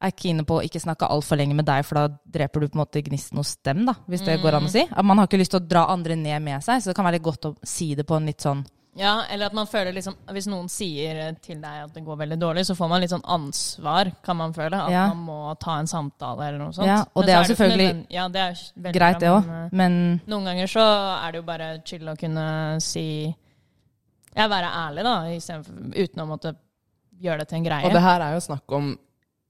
Speaker 3: er keene på å ikke snakke altfor lenge med deg, for da dreper du på en måte gnisten hos dem, da, hvis det går
Speaker 2: Mm.
Speaker 3: an å si. At man har ikke lyst til å dra andre ned med seg, så det kan være litt godt å si det på en litt sånn
Speaker 2: Ja, eller at man føler liksom Hvis noen sier eh, til deg at det går veldig dårlig, så får man litt sånn ansvar, kan man føle. At
Speaker 3: Ja.
Speaker 2: man må ta en samtale eller noe sånt.
Speaker 3: Ja,
Speaker 2: Men
Speaker 3: og det
Speaker 2: så
Speaker 3: er jo
Speaker 2: ikke
Speaker 3: selvfølgelig
Speaker 2: nødvendig- ja, det er jo veldig
Speaker 3: greit, det
Speaker 2: bra,
Speaker 3: òg,
Speaker 2: men, eh,
Speaker 3: men
Speaker 2: Noen ganger så er det jo bare chill å kunne si Ja, være ærlig, da, i stedet for, uten å måtte gjøre det til en greie.
Speaker 4: Og det her er jo snakk om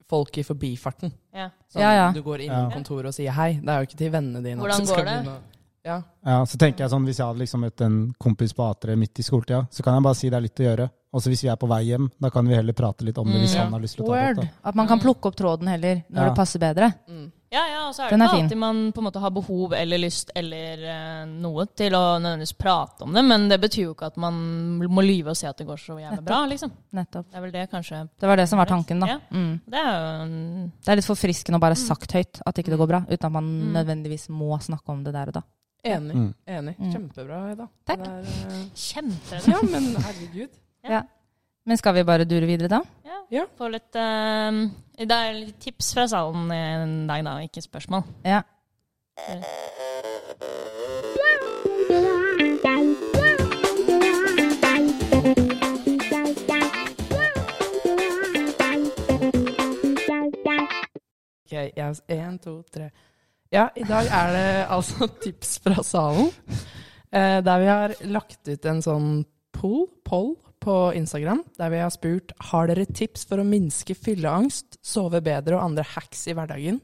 Speaker 4: folk i forbifarten.
Speaker 2: ja.
Speaker 4: Sånn,
Speaker 3: Ja, ja.
Speaker 4: Du går inn
Speaker 1: Ja.
Speaker 4: på kontoret og sier hei. Det er jo ikke til vennene dine.
Speaker 2: Hvordan
Speaker 4: som skal
Speaker 2: går det?
Speaker 4: begynne å- Ja.
Speaker 1: Ja, så tenker jeg sånn, Hvis jeg hadde liksom møtt en kompis på A3 midt i skoletida, så kan jeg bare si det er litt å gjøre. Og så hvis vi er på vei hjem, da kan vi heller prate litt om det hvis
Speaker 2: Mm, ja.
Speaker 1: han har lyst til å ta det
Speaker 3: word.
Speaker 1: opp. da.
Speaker 3: At
Speaker 2: Mm.
Speaker 3: man kan plukke opp tråden heller, når
Speaker 1: Ja.
Speaker 3: det passer bedre.
Speaker 4: Mm.
Speaker 2: Ja, ja, og så er det
Speaker 3: Den er
Speaker 2: ikke
Speaker 3: fin.
Speaker 2: alltid man på en måte har behov eller lyst eller eh, noe til å nødvendigvis prate om det, men det betyr jo ikke at man må lyve og si at det går så jævlig bra, liksom.
Speaker 3: Nettopp.
Speaker 2: Det er vel det kanskje
Speaker 3: Det var det som var tanken, da.
Speaker 2: Ja.
Speaker 3: Mm.
Speaker 2: Det er jo en-
Speaker 3: Det er litt forfriskende å bare sagt høyt at ikke det går bra, uten at man nødvendigvis må snakke om det der og da.
Speaker 4: Enig.
Speaker 1: Mm.
Speaker 4: enig.
Speaker 3: Mm.
Speaker 4: Kjempebra, Ida.
Speaker 3: Takk.
Speaker 4: Det er, eh,
Speaker 2: kjempe
Speaker 4: ja, men herregud.
Speaker 3: Men skal vi bare dure videre, da?
Speaker 4: Ja.
Speaker 2: Få litt eh, Det er litt tips fra salen i dag, da, ikke spørsmål.
Speaker 3: Ja.
Speaker 4: Ok, jeg, en, to, tre. Ja, i dag er det altså tips fra salen. Eh, der vi har lagt ut en sånn poll, poll på Instagram, der vi har spurt har dere tips for å minske fylleangst, sove bedre og andre hacks i hverdagen.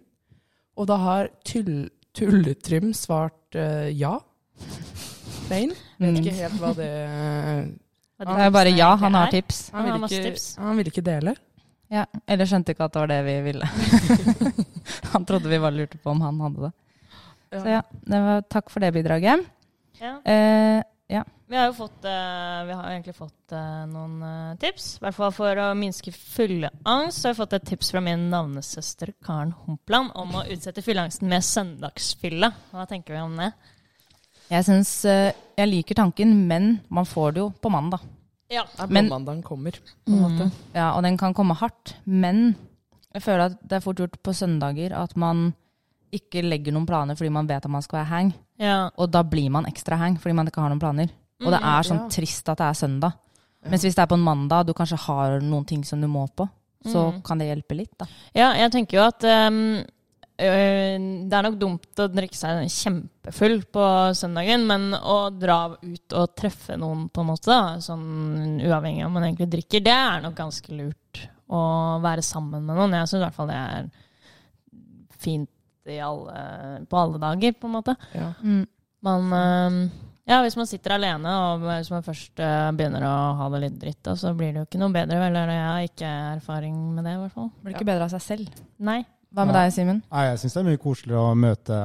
Speaker 4: Og da har tull, Tulletrym svart eh, ja. Plain. Vet ikke
Speaker 2: Mm.
Speaker 4: helt hva det
Speaker 2: Hva
Speaker 3: Det er jo bare
Speaker 2: tipsene
Speaker 3: ja,
Speaker 2: egentlig
Speaker 3: han
Speaker 2: er.
Speaker 3: har tips.
Speaker 2: Han har
Speaker 4: Han
Speaker 2: masse
Speaker 4: vil ikke,
Speaker 2: tips.
Speaker 4: han vil ikke dele.
Speaker 3: Ja, Eller skjønte ikke at det var det vi ville. han trodde vi bare lurte på om han hadde det. Så ja, det var, takk for det bidraget.
Speaker 2: Ja.
Speaker 3: Eh,
Speaker 2: Vi har jo fått, eh, vi har egentlig fått eh, noen eh, tips. I hvert fall for å minske fylleangst. Så har jeg fått et tips fra min navnesøster Karen Humpland om å utsette fylleangsten med søndagsfylla. Hva tenker vi om det?
Speaker 3: jeg syns eh, Jeg liker tanken, men man får det jo på mandag.
Speaker 2: Ja.
Speaker 4: Det er
Speaker 3: Men-
Speaker 4: mandagen kommer, på en måte.
Speaker 3: Ja, og den kan komme hardt, men jeg føler at det er fort gjort på søndager at man ikke legger noen planer fordi man vet at man skal være hang,
Speaker 2: ja.
Speaker 3: og da blir man ekstra hang fordi man ikke har noen planer. Og det
Speaker 2: Mm,
Speaker 3: er sånn
Speaker 4: ja.
Speaker 3: trist at det er søndag. Mens hvis det er på en mandag, du kanskje har noen ting som du må på, så
Speaker 2: Mm.
Speaker 3: kan det hjelpe litt, da.
Speaker 2: Ja, jeg tenker jo at ehm, øh, det er nok dumt å drikke seg kjempefull på søndagen, men å dra ut og treffe noen, på en måte, da, sånn uavhengig av om man egentlig drikker, det er nok ganske lurt å være sammen med noen. Jeg syns i hvert fall det er fint i alle, på alle dager, på en måte.
Speaker 4: Ja.
Speaker 3: Mm.
Speaker 2: Man ehm, ja, hvis man sitter alene, og hvis man først eh, begynner å ha det litt dritt, da, så blir det jo ikke noe bedre. Eller jeg har ikke erfaring med det, i hvert fall.
Speaker 3: Blir ikke bedre av seg selv.
Speaker 2: Nei.
Speaker 3: Hva med
Speaker 1: Ja.
Speaker 3: deg, Simen?
Speaker 1: Nei, jeg syns det er mye koseligere å møte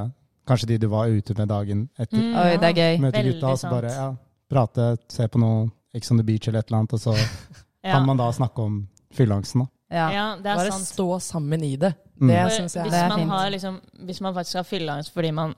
Speaker 1: kanskje de du var ute med dagen etter.
Speaker 2: Mm,
Speaker 3: Oi, det er gøy.
Speaker 1: møte
Speaker 2: veldig
Speaker 1: gutta og så
Speaker 2: sant.
Speaker 1: bare ja, prate, se på noe Ex on the beach eller et eller annet, og så
Speaker 2: ja.
Speaker 1: kan man da snakke om fylleangsten, da.
Speaker 3: Ja.
Speaker 2: Ja, det er
Speaker 4: Bare
Speaker 2: sant.
Speaker 4: stå sammen i det.
Speaker 1: Mm.
Speaker 4: Det
Speaker 2: For
Speaker 4: syns jeg
Speaker 2: hvis,
Speaker 3: Det er
Speaker 2: man
Speaker 3: fint.
Speaker 2: har liksom, hvis man faktisk har fylleangst fordi man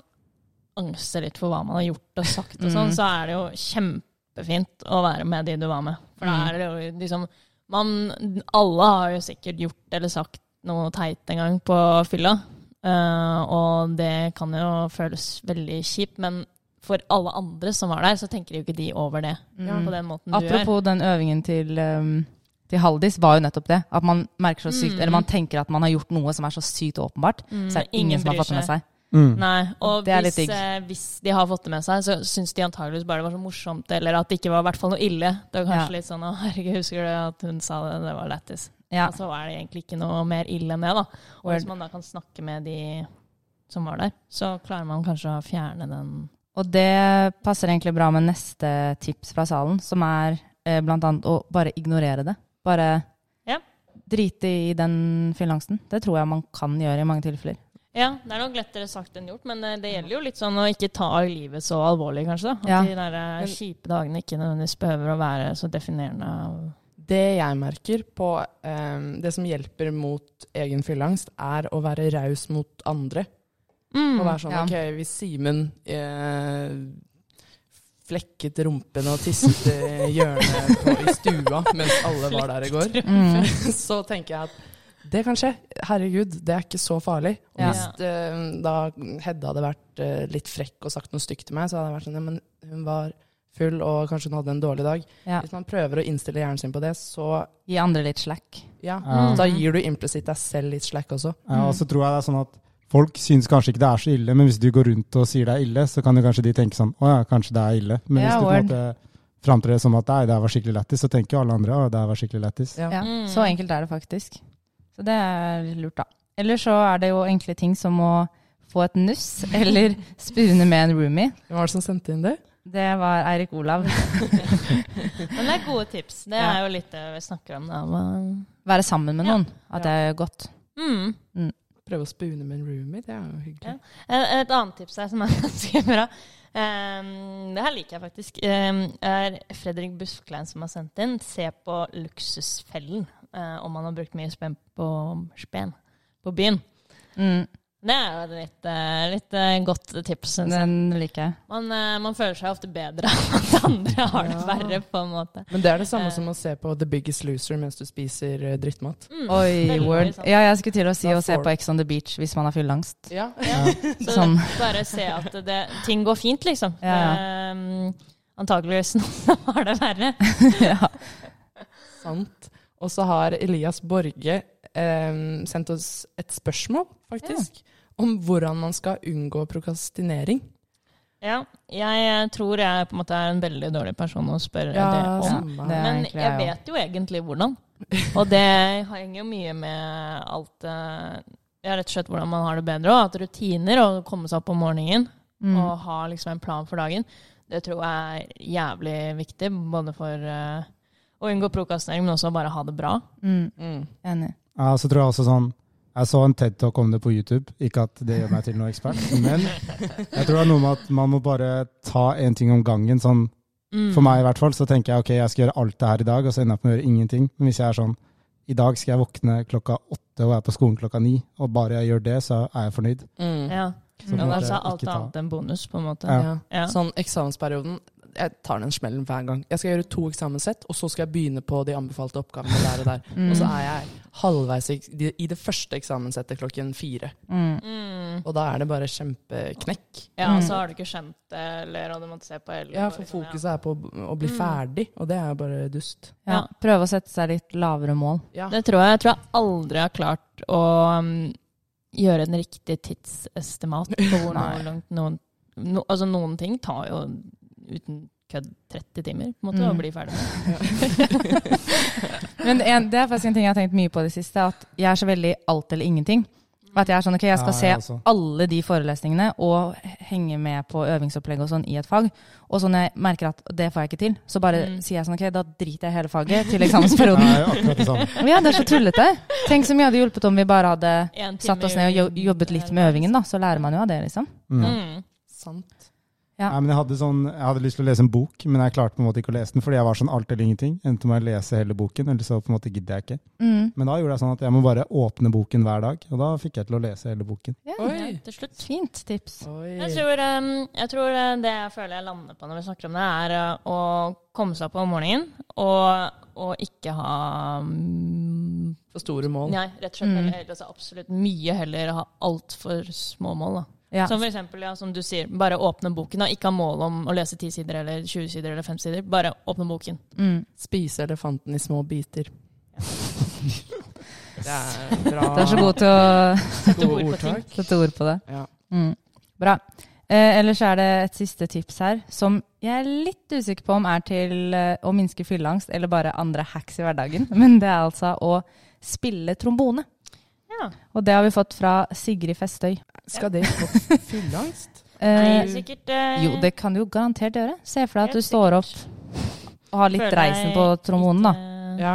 Speaker 2: angster litt for hva man har gjort og sagt, og
Speaker 3: Mm.
Speaker 2: sånn, så er det jo kjempefint å være med de du var med. For da
Speaker 3: Mm.
Speaker 2: er det jo liksom man, Alle har jo sikkert gjort eller sagt noe teit en gang på fylla, eh, og det kan jo føles veldig kjipt, men for alle andre som var der, så tenker jo ikke de over det
Speaker 3: Mm.
Speaker 2: på den måten du gjør.
Speaker 3: Apropos den øvingen til, um, til Haldis, var jo nettopp det. At man merker så sykt,
Speaker 2: Mm.
Speaker 3: eller man tenker at man har gjort noe som er så sykt åpenbart.
Speaker 2: Mm,
Speaker 3: Så er det ingen, som har
Speaker 2: bryr
Speaker 3: fått det med seg.
Speaker 1: Mm.
Speaker 2: Nei, og
Speaker 3: Det er litt
Speaker 2: hvis,
Speaker 3: digg.
Speaker 2: eh, hvis de har fått det med seg, så syns de antageligvis bare det var så morsomt, eller at det ikke var i hvert fall noe ille. Det var kanskje
Speaker 3: Ja.
Speaker 2: litt sånn 'Å, herregud, husker du at hun sa det? Det var lættis'.
Speaker 3: Ja.
Speaker 2: Og så er det egentlig ikke noe mer ille enn det, da. Og
Speaker 3: Word.
Speaker 2: hvis man da kan snakke med de som var der, så klarer man kanskje å fjerne den
Speaker 3: Og det passer egentlig bra med neste tips fra salen, som er eh, blant annet å bare ignorere det. Bare
Speaker 2: Ja.
Speaker 3: drite i den fylleangsten. Det tror jeg man kan gjøre i mange tilfeller.
Speaker 2: Ja, det er nok lettere sagt enn gjort, men eh, det gjelder jo litt sånn å ikke ta livet så alvorlig, kanskje. da. At
Speaker 3: Ja.
Speaker 2: de der eh, kjipe dagene ikke nødvendigvis behøver å være så definerende av
Speaker 4: Det jeg merker på eh, Det som hjelper mot egen fylleangst, er å være raus mot andre.
Speaker 3: Mm.
Speaker 4: Og være sånn
Speaker 3: ja.
Speaker 4: OK, hvis Simen eh, flekket rumpen og tisset i hjørnet på, i stua mens alle var der i går,
Speaker 3: Mm.
Speaker 4: så tenker jeg at det kan skje. Herregud, det er ikke så farlig. Og
Speaker 3: Ja.
Speaker 4: hvis eh, da Hedda hadde vært eh, litt frekk og sagt noe stygt til meg, så hadde jeg vært sånn Ja, men hun var full, og kanskje hun hadde en dårlig dag.
Speaker 3: Ja.
Speaker 4: Hvis man prøver å innstille hjernen sin på det, så
Speaker 3: Gi andre litt slack.
Speaker 4: ja.
Speaker 2: Mm.
Speaker 1: Ja.
Speaker 4: Da gir du implisitt deg selv litt slack også.
Speaker 1: Ja, og så tror jeg det er sånn at folk syns kanskje ikke det er så ille, men hvis du går rundt og sier det er ille, så kan jo kanskje de tenke sånn å ja, kanskje det er ille. Men
Speaker 3: Ja,
Speaker 1: hvis du på en
Speaker 3: word.
Speaker 1: måte framtrer det som at nei, det her var skikkelig lættis, så tenker jo alle andre å det her var skikkelig lættis.
Speaker 4: Ja.
Speaker 3: Ja,
Speaker 2: Mm.
Speaker 3: Så enkelt er det faktisk. Så det er lurt, da. Eller så er det jo enkle ting som å få et nuss, eller spune med en roomie.
Speaker 4: Hvem var det som sendte inn det?
Speaker 3: Det var Eirik Olav.
Speaker 2: Men det er gode tips. Det
Speaker 3: Ja.
Speaker 2: er jo litt det vi snakker om, da. hva-
Speaker 3: Være sammen med noen. At det er godt.
Speaker 2: Mm.
Speaker 4: Prøve å spune med en roomie, det er jo hyggelig.
Speaker 2: Et et annet tips her som er ganske bra, um, det her liker jeg faktisk, um, er Fredrik Busklein som har sendt inn. Se på Luksusfellen eh, om man har brukt mye spenn på, spen på byen.
Speaker 3: Mm,
Speaker 2: Det er jo et litt, eh, litt eh, godt tips, syns jeg.
Speaker 3: den liker jeg.
Speaker 2: Man, eh, man føler seg ofte bedre av at andre har det verre, på en måte.
Speaker 4: Men det er det samme
Speaker 2: Eh.
Speaker 4: som å se på The Biggest Loser mens du spiser eh, drittmat.
Speaker 2: Mm.
Speaker 3: Oi,
Speaker 2: Veldig
Speaker 3: word.
Speaker 2: sant.
Speaker 3: Ja, jeg skulle til å si
Speaker 4: Da
Speaker 3: å se
Speaker 4: får-
Speaker 3: på Ex on the Beach hvis man har fylleangst.
Speaker 4: Ja.
Speaker 2: Så
Speaker 3: Sånn.
Speaker 2: bare se at det, ting går fint, liksom.
Speaker 3: Ja,
Speaker 2: Um, antageligvis noen som har det verre.
Speaker 3: ja.
Speaker 4: Sant. Og så har Elias Borge eh, sendt oss et spørsmål, faktisk, om hvordan man skal unngå prokrastinering.
Speaker 2: Ja, jeg tror jeg på en måte er en veldig dårlig person å spørre det om.
Speaker 4: samme.
Speaker 3: det sånn er
Speaker 2: Men
Speaker 3: egentlig
Speaker 2: jeg
Speaker 3: jeg
Speaker 2: vet jo egentlig hvordan. Og det henger jo mye med alt eh, Ja, rett og slett hvordan man har det bedre, og at rutiner, og å komme seg opp om morgenen
Speaker 3: Mm.
Speaker 2: og ha liksom en plan for dagen, det tror jeg er jævlig viktig. Både for eh, å unngå prokrastinering, men også bare ha det bra.
Speaker 3: Mm,
Speaker 4: Mm.
Speaker 3: enig.
Speaker 1: Ja, så Eh, tror jeg også sånn Jeg så en TED Talk om det på YouTube. Ikke at det gjør meg til noen ekspert, men jeg tror det er noe med at man må bare ta en ting om gangen. sånn,
Speaker 2: Mm.
Speaker 1: For meg i hvert fall, så tenker jeg ok, jeg skal gjøre alt det her i dag, og så ender jeg opp med å gjøre ingenting. Men hvis jeg er sånn i dag skal jeg våkne klokka åtte og er på skolen klokka ni, og bare jeg gjør det, så er jeg fornøyd.
Speaker 2: Ja.
Speaker 1: Så på en
Speaker 2: Men
Speaker 1: måte
Speaker 2: altså alt
Speaker 1: ikke ta-
Speaker 2: annet enn bonus, på en måte.
Speaker 1: Ja.
Speaker 4: Ja.
Speaker 2: Mm. Ja.
Speaker 4: Sånn eksamensperioden, jeg tar den smellen hver gang. Jeg skal gjøre to eksamenssett, og så skal jeg begynne på de anbefalte oppgavene der og der. Og så er jeg halvveis i i det første eksamenssettet klokken fire.
Speaker 3: Mm,
Speaker 4: Og da er det bare kjempeknekk.
Speaker 2: Ja, og så
Speaker 3: Mm.
Speaker 2: har du ikke skjønt det, eller og du måtte se på hele
Speaker 4: Ja, for fokuset er på å bli ferdig, og det er jo bare dust.
Speaker 3: Ja.
Speaker 2: Ja.
Speaker 3: Prøve å sette seg litt lavere mål.
Speaker 4: Ja.
Speaker 2: Det tror jeg. Jeg tror jeg aldri har klart å um, gjøre en riktig tidsestimat på hvor
Speaker 3: Nei.
Speaker 2: noe langt noen no, Altså, noen ting tar jo uten kødd 30 timer, på en måte,
Speaker 3: Mm.
Speaker 2: å bli ferdig med.
Speaker 3: Men en, det er faktisk en ting jeg har tenkt mye på i det siste, at jeg er så veldig alt eller ingenting. At jeg er sånn, ok, jeg skal
Speaker 1: Ja,
Speaker 3: se
Speaker 1: jeg også.
Speaker 3: alle de forelesningene og henge med på øvingsopplegg og sånn i et fag. Og så når jeg merker at det får jeg ikke til, så bare
Speaker 2: Mm.
Speaker 3: sier jeg sånn, ok, da driter jeg i hele faget til
Speaker 1: Det
Speaker 3: eksamensperioden.
Speaker 1: er jo akkurat det samme.
Speaker 3: Men ja, det er så tullete. Tenk så mye hadde hjulpet om vi bare hadde
Speaker 2: En time
Speaker 3: satt oss ned og jo- jobbet litt med øvingen, da. Så lærer man jo av det, liksom.
Speaker 1: Mm.
Speaker 2: Mm.
Speaker 4: Sant.
Speaker 3: Ja.
Speaker 1: Nei, men jeg, hadde sånn, jeg hadde lyst til å lese en bok, men jeg klarte på en måte ikke å lese den fordi jeg var sånn alt eller ingenting. Endte med å lese hele boken, eller så på en måte gidder jeg ikke.
Speaker 3: Mm.
Speaker 1: Men da gjorde jeg sånn at jeg må bare åpne boken hver dag, og da fikk jeg til å lese hele boken.
Speaker 3: Ja,
Speaker 4: Oi.
Speaker 2: Til slutt.
Speaker 3: Fint tips.
Speaker 2: Jeg
Speaker 4: Oi.
Speaker 2: tror, um, jeg tror uh, det jeg føler jeg lander på når vi snakker om det, er uh, å komme seg opp om morgenen og, og ikke ha um,
Speaker 4: For store mål.
Speaker 2: Nei, rett og slett
Speaker 3: Mm.
Speaker 2: heller, heller, altså absolutt mye heller ha altfor små mål. da.
Speaker 3: Ja.
Speaker 2: Som for eksempel, ja, som du sier, bare åpne boken. da. Ikke ha mål om å lese 10 sider eller 20 sider eller 5 sider. Bare åpne boken.
Speaker 3: Mm.
Speaker 4: Spise elefanten i små biter. Det er bra.
Speaker 3: Du er så god til å
Speaker 2: Sette
Speaker 4: Gode
Speaker 2: ord på ting.
Speaker 4: ordtak.
Speaker 3: sette ord på det.
Speaker 4: Ja.
Speaker 3: Mm. Bra. Eh, ellers er det et siste tips her, som jeg er litt usikker på om er til eh, å minske fylleangst eller bare andre hacks i hverdagen. Men det er altså å spille trombone.
Speaker 2: Ja.
Speaker 3: Og det har vi fått fra Sigrid Festøy.
Speaker 4: Skal det få fylleangst?
Speaker 2: Nei,
Speaker 3: Eh,
Speaker 2: sikkert eh,
Speaker 3: jo, det kan du jo garantert gjøre. Se for deg
Speaker 2: helt
Speaker 3: at du står opp
Speaker 2: sikkert.
Speaker 3: og har litt
Speaker 2: Føler
Speaker 3: reisen
Speaker 2: deg
Speaker 3: på trombonen, da.
Speaker 2: litt, eh,
Speaker 4: Ja.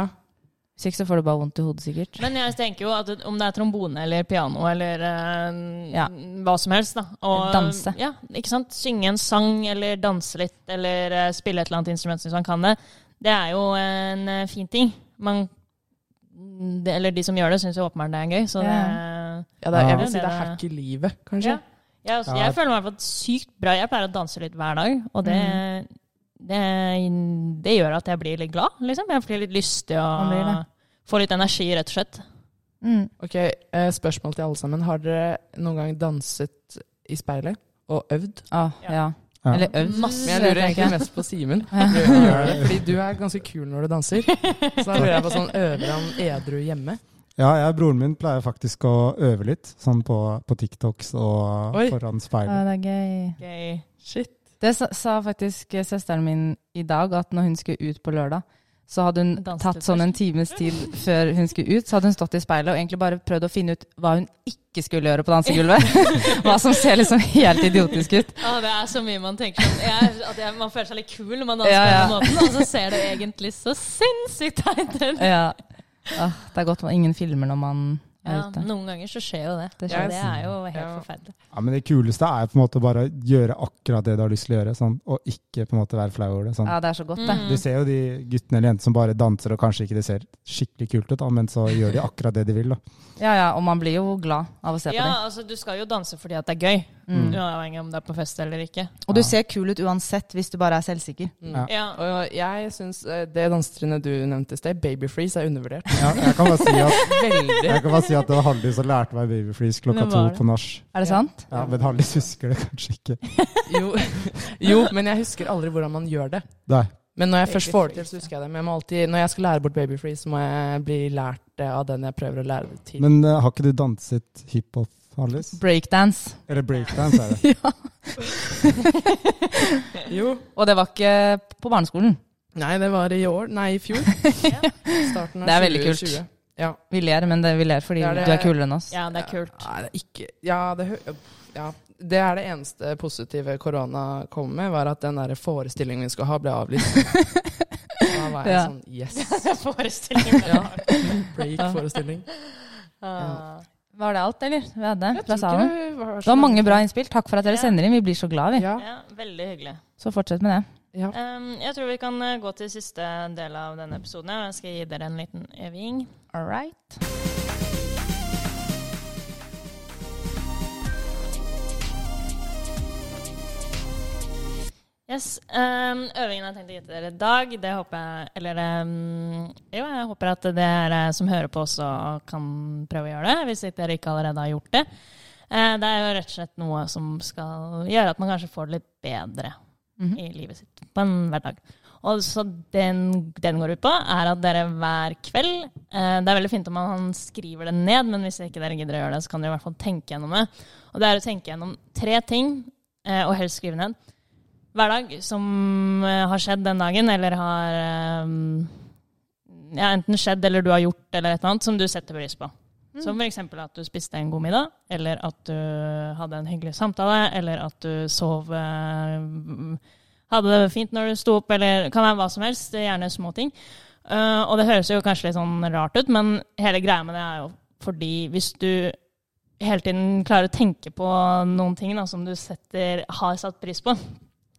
Speaker 3: Hvis ikke så får du bare vondt i hodet, sikkert.
Speaker 2: Men jeg tenker jo at om det er trombone eller piano eller eh,
Speaker 3: Ja.
Speaker 2: hva som helst, da. Og,
Speaker 3: Danse.
Speaker 2: Ja, ikke sant? Synge en sang eller danse litt eller eh, spille et eller annet instrument hvis man kan det. Det er jo en eh, fin ting. Man, det, eller de som gjør det, syns jo åpenbart det er gøy, så det
Speaker 4: Ja, det er, jeg
Speaker 1: Ja.
Speaker 4: vil si det er hack i livet, kanskje.
Speaker 2: Ja. Jeg, også,
Speaker 1: Ja.
Speaker 2: jeg føler meg i hvert fall sykt bra. Jeg pleier å danse litt hver dag, og det,
Speaker 3: Mm.
Speaker 2: det, det gjør at jeg blir litt glad, liksom. Jeg blir litt lystig
Speaker 3: Man
Speaker 2: og
Speaker 3: blir
Speaker 2: får litt energi, rett og slett.
Speaker 3: Mm.
Speaker 4: Ok, eh, Spørsmål til alle sammen. Har dere noen gang danset i speilet og øvd?
Speaker 3: Ah,
Speaker 2: Ja.
Speaker 3: ja.
Speaker 1: Ja.
Speaker 3: Eller øvd.
Speaker 4: Men jeg lurer
Speaker 3: vet ikke.
Speaker 4: egentlig mest på Simen.
Speaker 3: Ja.
Speaker 4: Gjør det, Fordi du er ganske kul når du danser. Så da lurer jeg på sånn, øver han edru hjemme?
Speaker 1: Ja, jeg og broren min pleier faktisk å øve litt, sånn på, på TikToks og
Speaker 4: Oi.
Speaker 1: foran
Speaker 3: Ah,
Speaker 1: speilet.
Speaker 3: det er gøy.
Speaker 2: Gøy.
Speaker 4: Shit.
Speaker 3: Det sa, sa faktisk eh, søsteren min i dag, at når hun skulle ut på lørdag, så hadde hun
Speaker 2: Danset
Speaker 3: tatt
Speaker 2: først.
Speaker 3: sånn en times tid før hun skulle ut, så hadde hun stått i speilet og egentlig bare prøvd å finne ut hva hun ikke skulle gjøre på dansegulvet. hva som ser liksom helt idiotisk ut.
Speaker 2: Ja, det er så mye man tenker sånn. jeg, at jeg, Man føler seg litt kul når man danser
Speaker 3: Ja, ja.
Speaker 2: på den måten, og så ser det egentlig så sinnssykt teit ut.
Speaker 3: Ja. Ah, det er godt man ingen filmer når man er
Speaker 2: Ja,
Speaker 3: ute.
Speaker 2: noen ganger så skjer jo det.
Speaker 3: Det
Speaker 2: Det,
Speaker 3: skjer.
Speaker 2: det er jo helt
Speaker 4: Ja.
Speaker 2: forferdelig.
Speaker 1: Ja, men det kuleste er på en måte bare å gjøre akkurat det du har lyst til å gjøre, sånn, og ikke på en måte være flau over det. Sånn.
Speaker 3: Ja, det er så godt, det.
Speaker 2: Mm.
Speaker 1: Du ser jo de guttene eller jentene som bare danser, og kanskje ikke det ser skikkelig kult ut, da, men så gjør de akkurat det de vil. Da.
Speaker 3: Ja, ja, og man blir jo glad av å se på
Speaker 2: Ja,
Speaker 3: det.
Speaker 2: altså Du skal jo danse fordi at det er gøy,
Speaker 3: Mm.
Speaker 2: uavhengig om det er på fest eller ikke.
Speaker 3: Og du ser kul ut uansett hvis du bare er selvsikker.
Speaker 1: Ja.
Speaker 2: Ja,
Speaker 4: Mm. Og jeg syns eh, det dansetrinnet du nevnte i sted, babyfreeze, er undervurdert.
Speaker 1: Ja, jeg, kan bare si at,
Speaker 4: Veldig.
Speaker 1: jeg kan bare si at det var Halldis som lærte meg babyfreeze klokka
Speaker 2: Men
Speaker 1: to
Speaker 2: var det?
Speaker 1: på nach.
Speaker 3: Er det
Speaker 4: Ja.
Speaker 3: sant?
Speaker 1: Ja, men Halldis husker det kanskje ikke.
Speaker 4: Jo. jo, men jeg husker aldri hvordan man gjør det.
Speaker 1: Nei.
Speaker 4: Men når jeg først får det til, så husker jeg det. Men jeg må alltid, når jeg skal lære bort babyfreeze, så må jeg bli lært det av den jeg prøver å lære det til.
Speaker 1: Men eh, har ikke du danset hiphop, Halldis?
Speaker 3: Breakdance.
Speaker 1: Eller breakdance, er det.
Speaker 4: jo.
Speaker 3: Og det var ikke på barneskolen.
Speaker 4: Nei, det var i år. Nei, i fjor. Starten av
Speaker 3: Det er veldig
Speaker 4: 2020.
Speaker 3: kult. Vi ler, men det, vi ler fordi
Speaker 4: Det er det-
Speaker 3: du er kulere enn oss.
Speaker 2: ja det er kult.
Speaker 4: Nei, det er ikke Ja, det hø... Ja. Det er det eneste positive korona kom med, var at den der forestillingen vi skulle ha, ble avlyst. Da var jeg
Speaker 3: Ja.
Speaker 4: sånn Yes!
Speaker 2: Forestillingen.
Speaker 4: Ja. Break-forestilling.
Speaker 2: Ah.
Speaker 3: Var det alt, eller? Vi hadde
Speaker 4: Jeg
Speaker 3: fra
Speaker 4: tror
Speaker 3: salen.
Speaker 4: ikke det var
Speaker 3: Det var
Speaker 4: så
Speaker 3: mange bra innspill. Takk for at dere
Speaker 2: Ja.
Speaker 3: sender inn. Vi blir så glad, vi.
Speaker 4: Ja,
Speaker 2: Ja, veldig hyggelig.
Speaker 3: Så fortsett med det.
Speaker 4: ja.
Speaker 2: Ehm, jeg tror vi kan eh, gå til siste del av denne episoden. og Jeg skal gi dere en liten øving.
Speaker 3: All right.
Speaker 2: Yes, ehm, Øvingen jeg tenkte å gi til dere i dag, det håper jeg Eller ehm, jo, jeg håper at dere som hører på, også kan prøve å gjøre det. Hvis ikke dere ikke allerede har gjort det. Eh, det er jo rett og slett noe som skal gjøre at man kanskje får det litt bedre i livet sitt på en hverdag. Og så den, den går ut på, er at dere hver kveld eh, Det er veldig fint om man skriver det ned, men hvis ikke dere gidder å gjøre det, så kan dere i hvert fall tenke gjennom det. Og det er å tenke gjennom tre ting, eh, og helst skrive ned hver dag som eh, har skjedd den dagen, eller har eh, ja, enten skjedd eller du har gjort, eller et eller annet, som du setter pris på. Som f.eks. at du spiste en god middag, eller at du hadde en hyggelig samtale, eller at du sov eh, Hadde det fint når du sto opp, eller det kan være hva som helst. det er Gjerne små ting. Eh, og det høres jo kanskje litt sånn rart ut, men hele greia med det er jo fordi hvis du hele tiden klarer å tenke på noen ting da, som du setter, har satt pris på,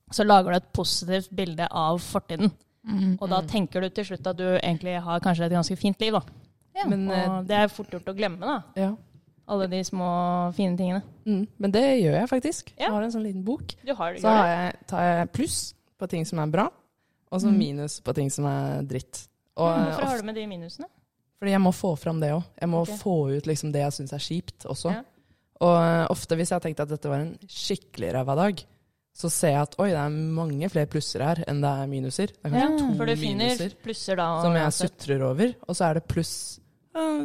Speaker 2: så lager du et positivt bilde av fortiden.
Speaker 4: Mm-hmm.
Speaker 2: Og da tenker du til slutt at du egentlig har kanskje et ganske fint liv, da.
Speaker 4: Men, eh,
Speaker 2: Og det er fort gjort å glemme, da.
Speaker 4: ja.
Speaker 2: Alle de små fine tingene.
Speaker 4: Mm. Men det gjør jeg faktisk.
Speaker 2: Ja.
Speaker 4: Jeg har en sånn liten bok.
Speaker 2: Du har det
Speaker 4: Så har jeg, tar jeg pluss på ting som er bra, og så minus på ting som er dritt. Og
Speaker 2: Mm. Hvorfor
Speaker 4: ofte-
Speaker 2: har du med de minusene?
Speaker 4: Fordi jeg må få fram det òg. Jeg må
Speaker 2: Ok.
Speaker 4: få ut liksom det jeg syns er kjipt også.
Speaker 2: Ja.
Speaker 4: Og eh, ofte hvis jeg har tenkt at dette var en skikkelig ræva dag, så ser jeg at oi, det er mange flere plusser her enn det er minuser. Det er kanskje to
Speaker 2: For du finner
Speaker 4: Mm. minuser
Speaker 2: plusser da. og-
Speaker 4: som jeg sutrer over, og så er det pluss «Ah,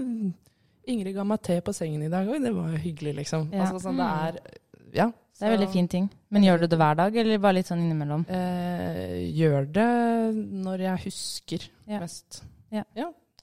Speaker 4: Ingrid ga meg te på sengen i dag, oi, det var jo hyggelig, liksom.
Speaker 3: Ja.
Speaker 4: Altså sånn det er
Speaker 2: Mm.
Speaker 4: Ja.
Speaker 3: Det er veldig fin ting. Men gjør du det hver dag, eller bare litt sånn innimellom?
Speaker 4: Eh, gjør det når jeg husker
Speaker 3: Ja.
Speaker 4: mest.
Speaker 3: Ja.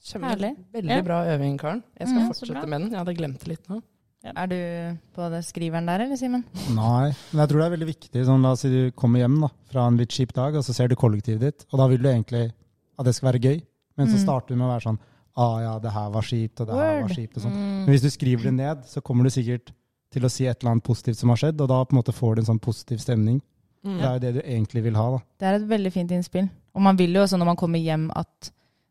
Speaker 4: Kjempe,
Speaker 3: Herlig.
Speaker 4: Veldig
Speaker 2: Ja.
Speaker 4: bra øving, Karen. Jeg skal
Speaker 2: Mm, så bra.
Speaker 4: fortsette med den. Jeg hadde glemt det litt nå.
Speaker 3: Er du på det skriveren der, eller Simen?
Speaker 1: Nei, men jeg tror det er veldig viktig. Sånn, la oss si du kommer hjem da, fra en litt kjip dag, og så ser du kollektivet ditt, og da vil du egentlig at det skal være gøy, men så
Speaker 3: Mm.
Speaker 1: starter du med å være sånn ah, ja, det her var kjipt, og det her
Speaker 3: Word.
Speaker 1: var kjipt, og sånn. Men
Speaker 2: Mm.
Speaker 1: hvis du skriver det ned, så kommer du sikkert til å si et eller annet positivt som har skjedd, og da på en måte får du en sånn positiv stemning. Det er jo det du egentlig vil ha, da.
Speaker 3: Det er et veldig fint innspill. Og man vil jo også når man kommer hjem at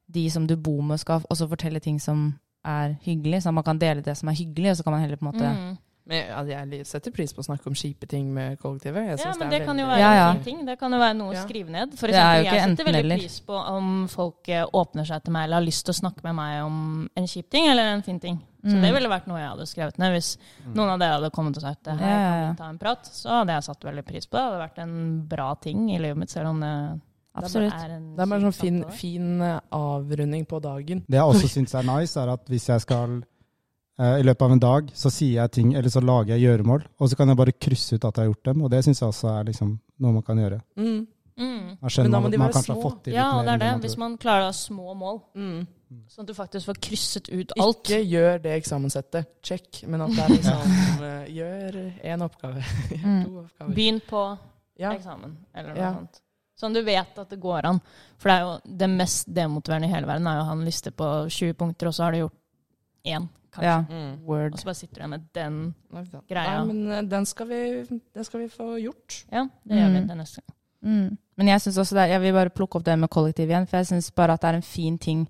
Speaker 3: de som du bor med skal også fortelle ting som er hyggelig, så man kan dele det som er hyggelig, og så kan man heller på en måte
Speaker 2: Mm.
Speaker 4: Men jeg, altså, jeg setter pris på å snakke om kjipe ting med kollektivet. Jeg
Speaker 2: Ja,
Speaker 4: synes
Speaker 2: men
Speaker 4: det,
Speaker 2: det
Speaker 4: er
Speaker 2: kan jo
Speaker 4: veldig-
Speaker 2: være
Speaker 3: Ja, ja.
Speaker 2: en fin ting. Det kan jo være noe å
Speaker 4: Ja.
Speaker 2: skrive ned. For
Speaker 3: Det er
Speaker 2: eksempel,
Speaker 3: jo ikke
Speaker 2: jeg setter veldig
Speaker 3: enten-eller.
Speaker 2: pris på om folk eh, åpner seg til meg eller har lyst til å snakke med meg om en kjip ting eller en fin ting. Så
Speaker 3: Mm.
Speaker 2: det ville vært noe jeg hadde skrevet ned hvis
Speaker 4: Mm.
Speaker 2: noen av dere hadde kommet og sagt det her.
Speaker 3: Ja, ja, ja.
Speaker 2: ta en prat, så hadde jeg satt veldig pris på det. Det hadde vært en bra ting i livet mitt, selv om det det
Speaker 3: Absolutt.
Speaker 2: bare er en
Speaker 4: Det er bare
Speaker 2: kjip
Speaker 4: sånn fin,
Speaker 2: samtale.
Speaker 4: fin eh, avrunding på
Speaker 1: Det
Speaker 4: dagen.
Speaker 1: jeg også syns er nice, er at hvis jeg skal eh, I løpet av en dag så sier jeg ting, eller så lager jeg gjøremål, og så kan jeg bare krysse ut at jeg har gjort dem, og det syns jeg også er liksom noe man kan gjøre.
Speaker 4: Mm.
Speaker 2: Mm.
Speaker 1: Man
Speaker 4: Men
Speaker 1: skjønner
Speaker 4: da må
Speaker 1: man,
Speaker 4: de
Speaker 1: at man
Speaker 4: være
Speaker 1: kanskje har
Speaker 4: små.
Speaker 1: fått til litt
Speaker 2: Ja,
Speaker 1: mer. liksom
Speaker 2: og det er det.
Speaker 1: enn man
Speaker 2: Hvis
Speaker 1: tror.
Speaker 2: man klarer å ha små mål,
Speaker 4: Mm.
Speaker 2: sånn at du faktisk får krysset ut alt.
Speaker 4: Ikke gjør det eksamenssettet, check, men at det er liksom eh, Gjør én oppgave, gjør
Speaker 3: Mm.
Speaker 4: to oppgaver.
Speaker 2: Begynn på
Speaker 4: Ja.
Speaker 2: eksamen, eller noe
Speaker 4: Ja.
Speaker 2: annet. Sånn du vet at det går an. For det er jo det mest demotiverende i hele verden, er jo å ha en liste på 20 punkter, og så har du gjort én, kanskje.
Speaker 3: Ja.
Speaker 4: Mm.
Speaker 3: Word.
Speaker 2: Og så bare sitter du med den.
Speaker 4: Nei, da-
Speaker 2: Greia.
Speaker 4: Nei, men eh, den skal, vi, den skal vi få gjort.
Speaker 2: Ja, det gjør vi
Speaker 3: Mm.
Speaker 2: til neste gang.
Speaker 3: Mm. Men jeg synes også det, jeg vil bare plukke opp det med kollektiv igjen, for jeg syns bare at det er en fin ting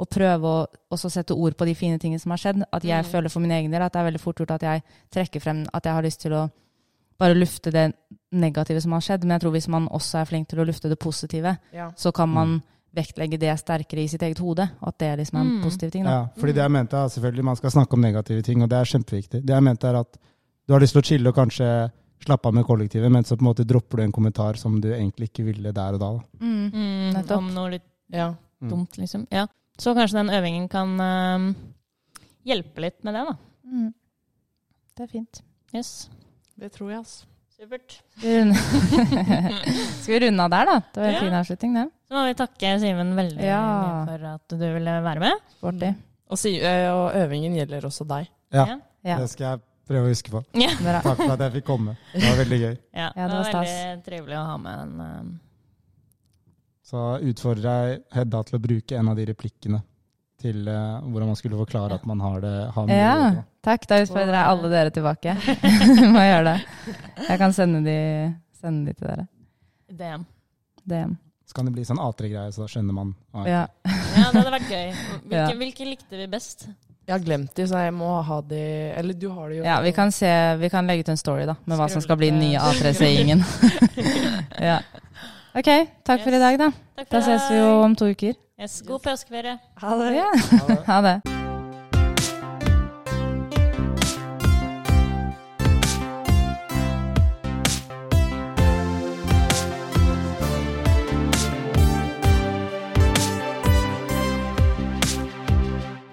Speaker 3: å prøve å også sette ord på de fine tingene som har skjedd. At jeg
Speaker 4: Mm.
Speaker 3: føler for min egen del at det er veldig fort gjort at jeg trekker frem at jeg har lyst til å bare lufte det negative som har skjedd, men jeg tror hvis man også er flink til å lufte det positive,
Speaker 4: Ja.
Speaker 3: så kan man vektlegge det sterkere i sitt eget hode, og at det liksom er en
Speaker 2: Mm.
Speaker 3: positiv ting.
Speaker 1: Ja,
Speaker 3: Da.
Speaker 1: fordi det jeg mente er selvfølgelig man skal snakke om negative ting, og det er kjempeviktig. Det jeg mente er at du har lyst til å chille og kanskje slappe av med kollektivet, men så på en måte dropper du en kommentar som du egentlig ikke ville der og da. da.
Speaker 3: Mm. Nettopp.
Speaker 2: om noe litt
Speaker 4: Ja.
Speaker 1: Mm.
Speaker 2: dumt, liksom. Ja. Så kanskje den øvingen kan eh, hjelpe litt med det, da.
Speaker 3: Mm. Det er fint.
Speaker 2: Yes.
Speaker 4: Det tror jeg, altså.
Speaker 2: Supert.
Speaker 3: Skal vi runde- Skal vi runde av der, da? Det var en
Speaker 2: Ja.
Speaker 3: fin avslutning, det.
Speaker 2: Så må vi takke Simen veldig
Speaker 3: Ja.
Speaker 2: mye for at du ville være med.
Speaker 3: Sporty.
Speaker 4: Og, si, eh, og øvingen gjelder også deg.
Speaker 1: Ja.
Speaker 3: Ja.
Speaker 1: Det skal jeg prøve å huske på.
Speaker 2: Ja,
Speaker 3: Bra.
Speaker 1: Takk for at jeg fikk komme. Det var veldig gøy.
Speaker 2: ja.
Speaker 3: Ja, det
Speaker 2: det
Speaker 3: var
Speaker 2: var
Speaker 3: stas.
Speaker 2: veldig trivelig å ha med en eh,
Speaker 1: Så utfordrer jeg Hedda til å bruke en av de replikkene til eh, hvordan man skulle forklare at man har det. Har mye
Speaker 3: Ja,
Speaker 1: å gjøre.
Speaker 3: takk. Da utfordrer jeg alle dere tilbake. Må gjøre det. Jeg kan sende de, sende de til dere.
Speaker 2: DM.
Speaker 3: DM.
Speaker 1: Så kan det bli sånn A3-greie, så da skjønner man. Ah,
Speaker 3: Ja.
Speaker 2: Ja, det hadde vært gøy.
Speaker 3: Ja.
Speaker 2: Hvilke, hvilke likte vi best?
Speaker 4: Jeg har glemt de, så jeg må ha de Eller du har de jo.
Speaker 3: ja, vi kan, se, vi kan legge ut en story da, med hva som skal bli den nye A3C-gjengen. ja. Ok, takk for i dag da.
Speaker 2: Takk for
Speaker 3: Da ses vi jo om to
Speaker 2: i
Speaker 3: uker.
Speaker 2: dag. Yes, god påskeferie.
Speaker 4: Ha det.
Speaker 3: Ja.
Speaker 1: Ha det.
Speaker 3: Ha det.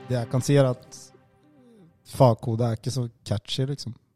Speaker 1: Det jeg kan si, er at fagkode er ikke så catchy, liksom.